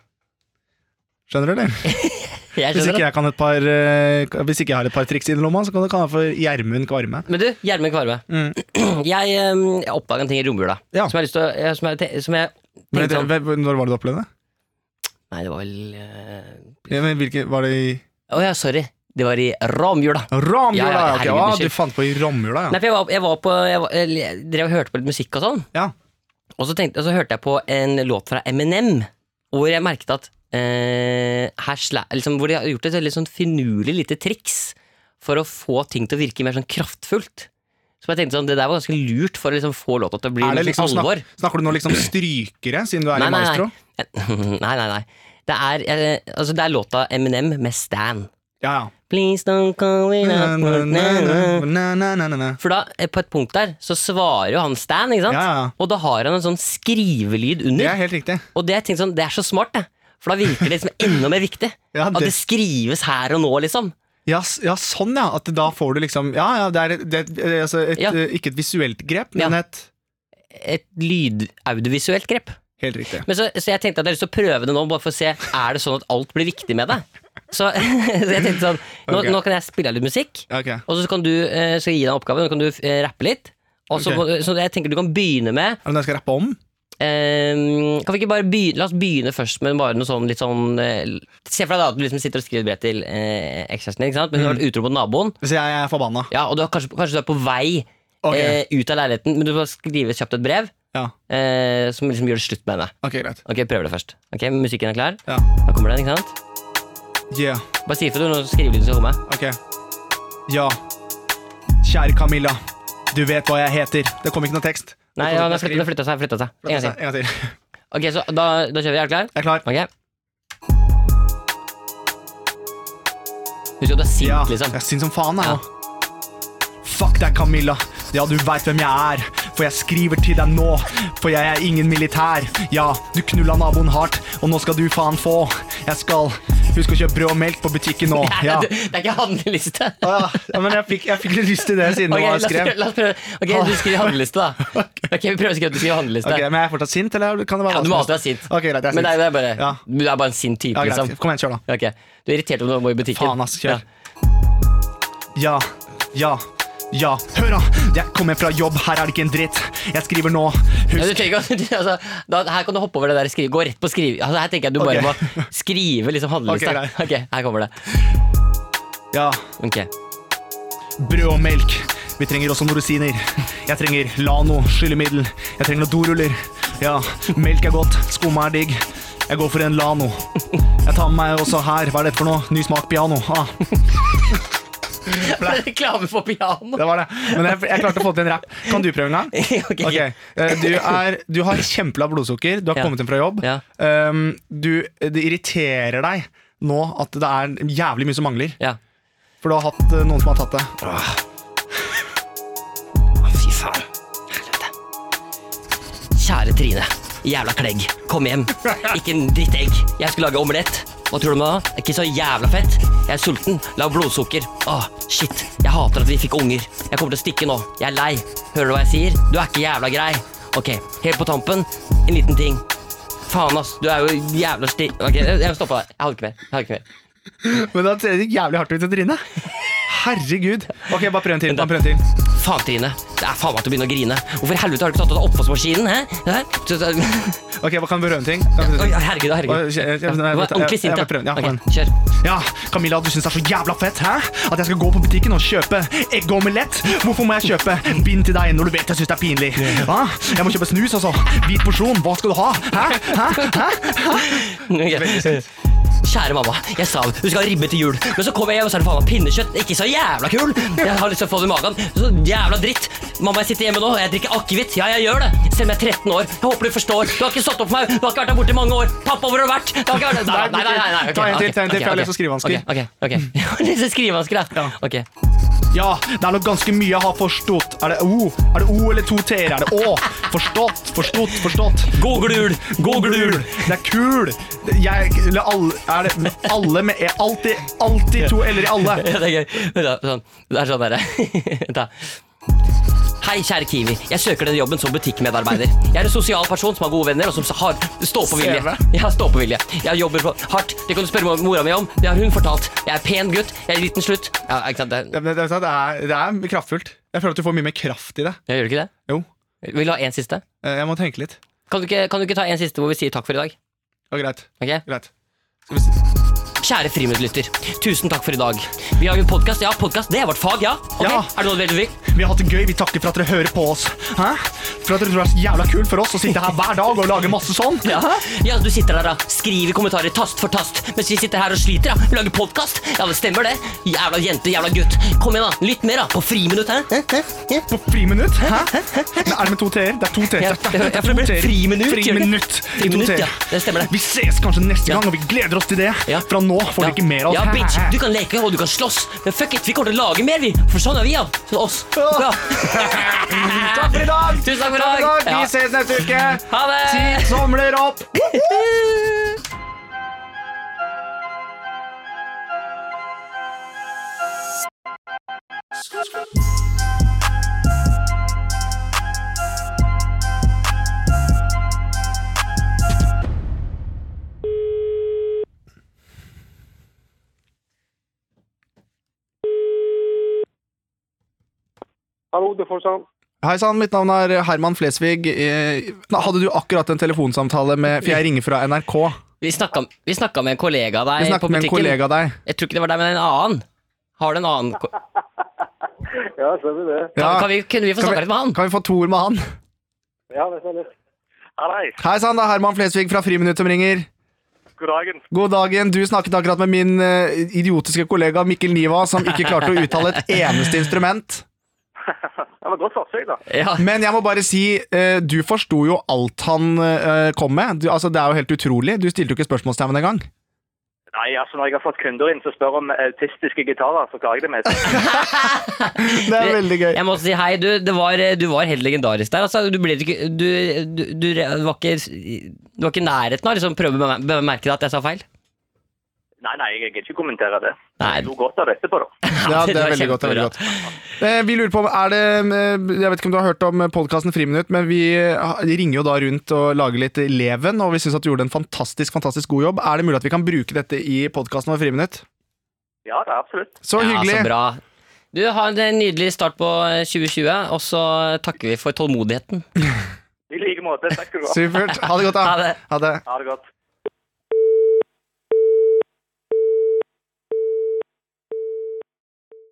Skjønner du, eller? jeg Hvis skjønner ikke det. jeg, kan et par, eh, hvis ikke jeg har et par triks i lomma, så kan du kalle meg for Gjermund Kvarme. Men du, Gjermund Kvarme. Mm. Jeg, em, jeg oppdaga en ting i romjula Ja. som jeg har lyst til å eh, Som jeg, te- som jeg Men, tenkte sånn det- hva- når var det du opplevde det? Nei, det var vel eh, Ja, men hvilke, var det i Å ja, sorry. Det var i romjula. ramjula? Ja, ja, Ja, ok. herregud, Ah, unnskyld. du fant på i ramjula, ja. Nei, for jeg var, jeg var på Jeg, var, eh, jeg drev og hørte på litt musikk og sånn. Ja. Og så, tenkte, og så hørte jeg på en låt fra Eminem, hvor jeg merket at eh, her sla, liksom, Hvor de har gjort et veldig sånn finurlig lite triks for å få ting til å virke mer sånn kraftfullt. Så jeg tenkte sånn, Det der var ganske lurt for å liksom få låta til å bli Er det mer liksom sånn snak, alvor. [LAUGHS] snakker du nå liksom strykere, siden du er Nei, nei, i maestro? nei, nei. nei. Det, er, eh, altså, det er låta Eminem med Stan. Ja, ja. Please don't call me Na, up. na, na, na, na, na, na, na. For da, eh, på et punkt der, så svarer jo han Stan, ikke sant? Ja, ja. Og da har han en sånn skrivelyd Det under. er helt riktig. Og det, er ting sånn, det er så smart, det. For da virker det liksom enda mer viktig. [LAUGHS] Ja, At det- det skrives her og nå, liksom. Ja, s- ja, sånn ja. At da får du liksom Ja, ja, det er, et- det, er et- altså et, Ja. eh, ikke et visuelt grep, men Ja. et Et lydaudivisuelt grep. Helt riktig. Men så, så jeg tenkte at jeg har lyst til å prøve det nå, bare for å se er det sånn at alt blir viktig med det. Så, [LAUGHS] så jeg tenkte sånn, nå, Ok. nå kan jeg spille av litt musikk, Ok. og så kan du eh, så gi deg en oppgave, og så kan du eh, rappe litt. Og så, Ok. må- så jeg tenker du kan begynne med Er det noe jeg skal rappe om? Ehm, kan vi ikke bare begynne, La oss begynne først med bare noe sånn litt sånn eh, Se for deg da at du liksom sitter og skriver et brev til eh, ekskjæresten din, ikke sant? men du Mm. har vært utro mot naboen. Hvis jeg er forbanna. Ja, og du har, kanskje, kanskje du er på vei Ok. eh, ut av leiligheten, men du må skrive kjapt et brev Ja. eh, som liksom gjør det slutt med henne. Ok, greit. Ok, Prøver det først. Ok, Musikken er klar? Ja. Da kommer den, ikke sant? Yeah. Bare si ifra når skrivelyden skal komme. Ok. Ja. Kjære Camilla. Du vet hva jeg heter. Det kom ikke noe tekst. Nei, Det ja, kom den ikke noe flytta, flytta seg. flyttet seg. En gang skriv. til. En gang til. [LAUGHS] Jeg Ok, så da, da kjører vi. Er du klar? er klar. Ok. Husk at du er sint, Ja, liksom. jeg syns som faen, jeg Ja. nå. Fuck deg, Camilla. Ja, du veit hvem jeg er. For jeg skriver til deg nå, for jeg er ingen militær. Ja, du knulla naboen hardt, og nå skal du faen få. Jeg skal Husk å kjøpe brød og melk på butikken [LAUGHS] nå. Nei, Ja. [LAUGHS] Det det er ikke handleliste. Ah, ja, men jeg fikk, jeg fikk litt lyst til det [LAUGHS] siden Ok, du la var oss prøve, skrev. la oss prøve. ok, du [LAUGHS] skriver handleliste, da. Ok, Vi prøver å skrive at du skriver handleliste. Ok, Men jeg er fortsatt sint, eller kan det være ja, du hva som må helst? alltid være sint. Ok, greit, jeg er Men nei, sint. det er bare, Ja. du er bare en sint type, Ja, greit. liksom. Kom igjen, kjør, da. Ok, Du er irritert om du må i butikken. Faen, ass, kjør. Ja, ja, ja. Hør, da! Jeg kommer fra jobb, her er det ikke en dritt. Jeg skriver nå. Ja, du Husk trenger ikke å- [LAUGHS] du- altså, da, her kan du hoppe over det der skrive. Gå rett på skrive. Altså, her tenker jeg du bare Ok. må skrive liksom handleliste. [LAUGHS] Ok, Ok, her kommer det. Ja, Ok, brød og melk. Vi trenger også norosiner. Jeg trenger Lano, skyllemiddel. Jeg trenger noen doruller. Ja, melk er godt. Skumma er digg. Jeg går for en Lano. Jeg tar med meg også her. Hva er dette for noe? Ny smak piano. Ah, [LAUGHS] Reklame for piano. det var det. Men jeg, jeg klarte å få til en rapp. Kan du prøve en gang? [LAUGHS] [LAUGHS] Ok. Ok, eh, du, er, du har kjempelavt blodsukker, du har Ja. kommet inn fra jobb. Ja. Um, du, det irriterer deg nå at det er jævlig mye som mangler. Ja. For du har hatt eh, noen som har tatt det. Fy faen. Helvete. Kjære Trine. Jævla klegg. Kom hjem. Ikke en drittegg. Jeg skulle lage omelett. Hva tror du om det? da? Ikke så jævla fett. Jeg er sulten. Lav blodsukker. Åh, shit. Jeg hater at vi fikk unger. Jeg kommer til å stikke nå. Jeg er lei. Hører du hva jeg sier? Du er ikke jævla grei. Ok, helt på tampen. En liten ting. Faen, ass. Du er jo jævla sti... Ok, jeg må stoppe der. Jeg hadde ikke mer. Jeg hadde ikke mer. Men da ser det jævlig hardt ut i trynet. Herregud. Ok, bare prøv en til. Bare prøv en til. Faen, Trine. Det er faen meg til å begynne å grine. Hvorfor i helvete har du ikke tatt av deg oppvaskmaskinen? Hæ? Hæ? Så- så- [LAUGHS] Ok, hva kan vi prøve en ting? Kan vi prøve Oi, en ting? herregud, herregud. Oi, jeg- jeg- jeg- Ja, du var ordentlig sint, jeg- jeg- jeg- jeg- ja. jeg- jeg- Ok, kjør. Ja, Camilla, du syns det er så jævla fett, hæ? At jeg skal gå på butikken og kjøpe eggeomelett? Hvorfor må jeg kjøpe bind til deg når du vet jeg syns det er pinlig? Hva? Jeg må kjøpe snus, altså. Hvit porsjon, hva skal du ha? Hæ? Hæ? Hæ? Ok. Kjære mamma, jeg sa du skal ha ribbe til jul, men så kommer jeg hjem og så er det faen meg pinnekjøtt. Ikke så jævla kul! Jeg har lyst til å få det i magen. Så jævla dritt. Mamma, jeg sitter hjemme nå, og jeg drikker akevitt. Ja, jeg gjør det. Selv om jeg er 13 år. Jeg håper du forstår. Du har ikke stått opp for meg. Du har ikke vært der borte i mange år. Pappa, hvor har du vært? Du har ikke vært der. Nei, nei, nei. nei. ok, Ta en ok, til, ta en til, for jeg har ok, lyst til å skrive vanskelig. Ok, ok. ok. [LAUGHS] Jeg har lyst til å skrive vanskelig, ja. Ok. Ja, det er nok ganske mye jeg har forstått. Er det O? Er det O eller to T-er? Er det Å? Forstått, forstått, forstått. God glul! God glul! Det er kul. Det- Jeg eller alle Er det alle med E? Alltid, alltid to L-er i alle. Ja, det er gøy. Vent da, Sånn. Det er sånn derre [LAUGHS] Vent da. Hei, kjære Kiwi. Jeg søker denne jobben som butikkmedarbeider. Jeg er en sosial person som har gode venner, og som har stå-på-vilje. CV. Jeg har stå-på-vilje. Jeg jobber på hardt. Det kan du spørre mora mi om. Det har hun fortalt. Jeg er pen gutt. Jeg er en liten slutt. Ja, ikke sant? Ja, Det, men Det, det, er, det er kraftfullt. Jeg føler at du får mye mer kraft i det. jeg gjør ikke det? Jo. Vil du ha en siste? Eh, Jeg må tenke litt. Kan du, ikke, kan du ikke ta en siste hvor vi sier takk for i dag? Ja, greit. Ok? greit. Skal vi se. Kjære friminuttlytter, tusen takk for i dag. Vi har en podkast. Ja, podkast. Det er vårt fag, ja. Ok, Ja. Er det noe du vil? Vi har hatt det gøy. Vi takker for at dere hører på oss. Hæ? For at dere tror det er så jævla kult for oss å sitte her hver dag og lage masse sånn. Ja. ja, du sitter der da, skriver kommentarer tast for tast, mens vi sitter her og sliter, da. Vi lager podkast. Ja, det stemmer, det. Jævla jente, jævla gutt. Kom igjen, da. Lytt mer, da. På friminutt, hæ? På friminutt? Hæ? Men er det med to t-er? Det er to t-er. Ja, Det er- ja, det er for det blir to T-er. friminutt, gjør det Friminutt. I to Friminutt, T-er. ja. Det stemmer det. Vi ses kanskje neste Ja. gang, og vi gleder oss til det. Ja. Fra nå får dere ikke mer av Ja, oss. bitch, du kan leke og du kan slåss, men fuck it, vi kommer til å lage mer, vi. For sånn er vi, ja. Sånn oss. [LAUGHS] Ja. Takk for i dag! Tusen takk for i dag. Ja. Vi ses neste uke. Ha det! Ti somler opp! Hallo, du får sånn. Hei sann, mitt navn er Herman Flesvig. Eh, nei, Hadde du akkurat en telefonsamtale med For jeg ringer fra NRK. Vi snakka, vi snakka med en kollega av Jeg deg på snakket med en butikken. kollega av deg. Jeg tror ikke det var deg, men en annen. Har du en annen ko- kan, Ja, stemmer det. Ja. kan vi, Kunne vi få Kan vi- snakka litt med han? Kan vi få to ord med han? Ja, det stemmer. Hallais. Hei sann, det er Herman Flesvig fra Friminutt som ringer. God dagen. God dagen. Du snakket akkurat med min eh, idiotiske kollega Mikkel Niva, som ikke klarte å uttale et eneste instrument. Det var godt forsøk, da. Ja. Men jeg må bare si, eh, du forsto jo alt han eh, kom med. Du, altså, det er jo helt utrolig. Du stilte jo ikke spørsmålstegn engang. Nei, altså når jeg har fått kunder inn som spør om autistiske gitarer, så klarer jeg [LAUGHS] det meste. Det er veldig gøy. Jeg må si hei, du, det var, eh, du var helt legendarisk der. Altså, du, ble ikke, du, du, du, var ikke Du var ikke i nærheten av å liksom, prøve å bemer- bemerke deg at jeg sa feil. Nei, nei, jeg gidder ikke kommentere det. Nei. Jeg lo godt av det etterpå, da. Ja, [LAUGHS] det var er veldig godt. Det er kjempebra. veldig godt. Eh, Vi lurer på om er det eh, Jeg vet ikke om du har hørt om podkasten Friminutt, men vi eh, ringer jo da rundt og lager litt leven, og vi syns at du gjorde en fantastisk fantastisk god jobb. Er det mulig at vi kan bruke dette i podkasten vår Friminutt? Ja, det er absolutt. Så hyggelig! Ja, så bra. Du, ha en nydelig start på 2020, og så takker vi for tålmodigheten. I like måte. Takk skal du ha. Supert. Ha det godt, da. Ha det. Ha det. Ha det godt.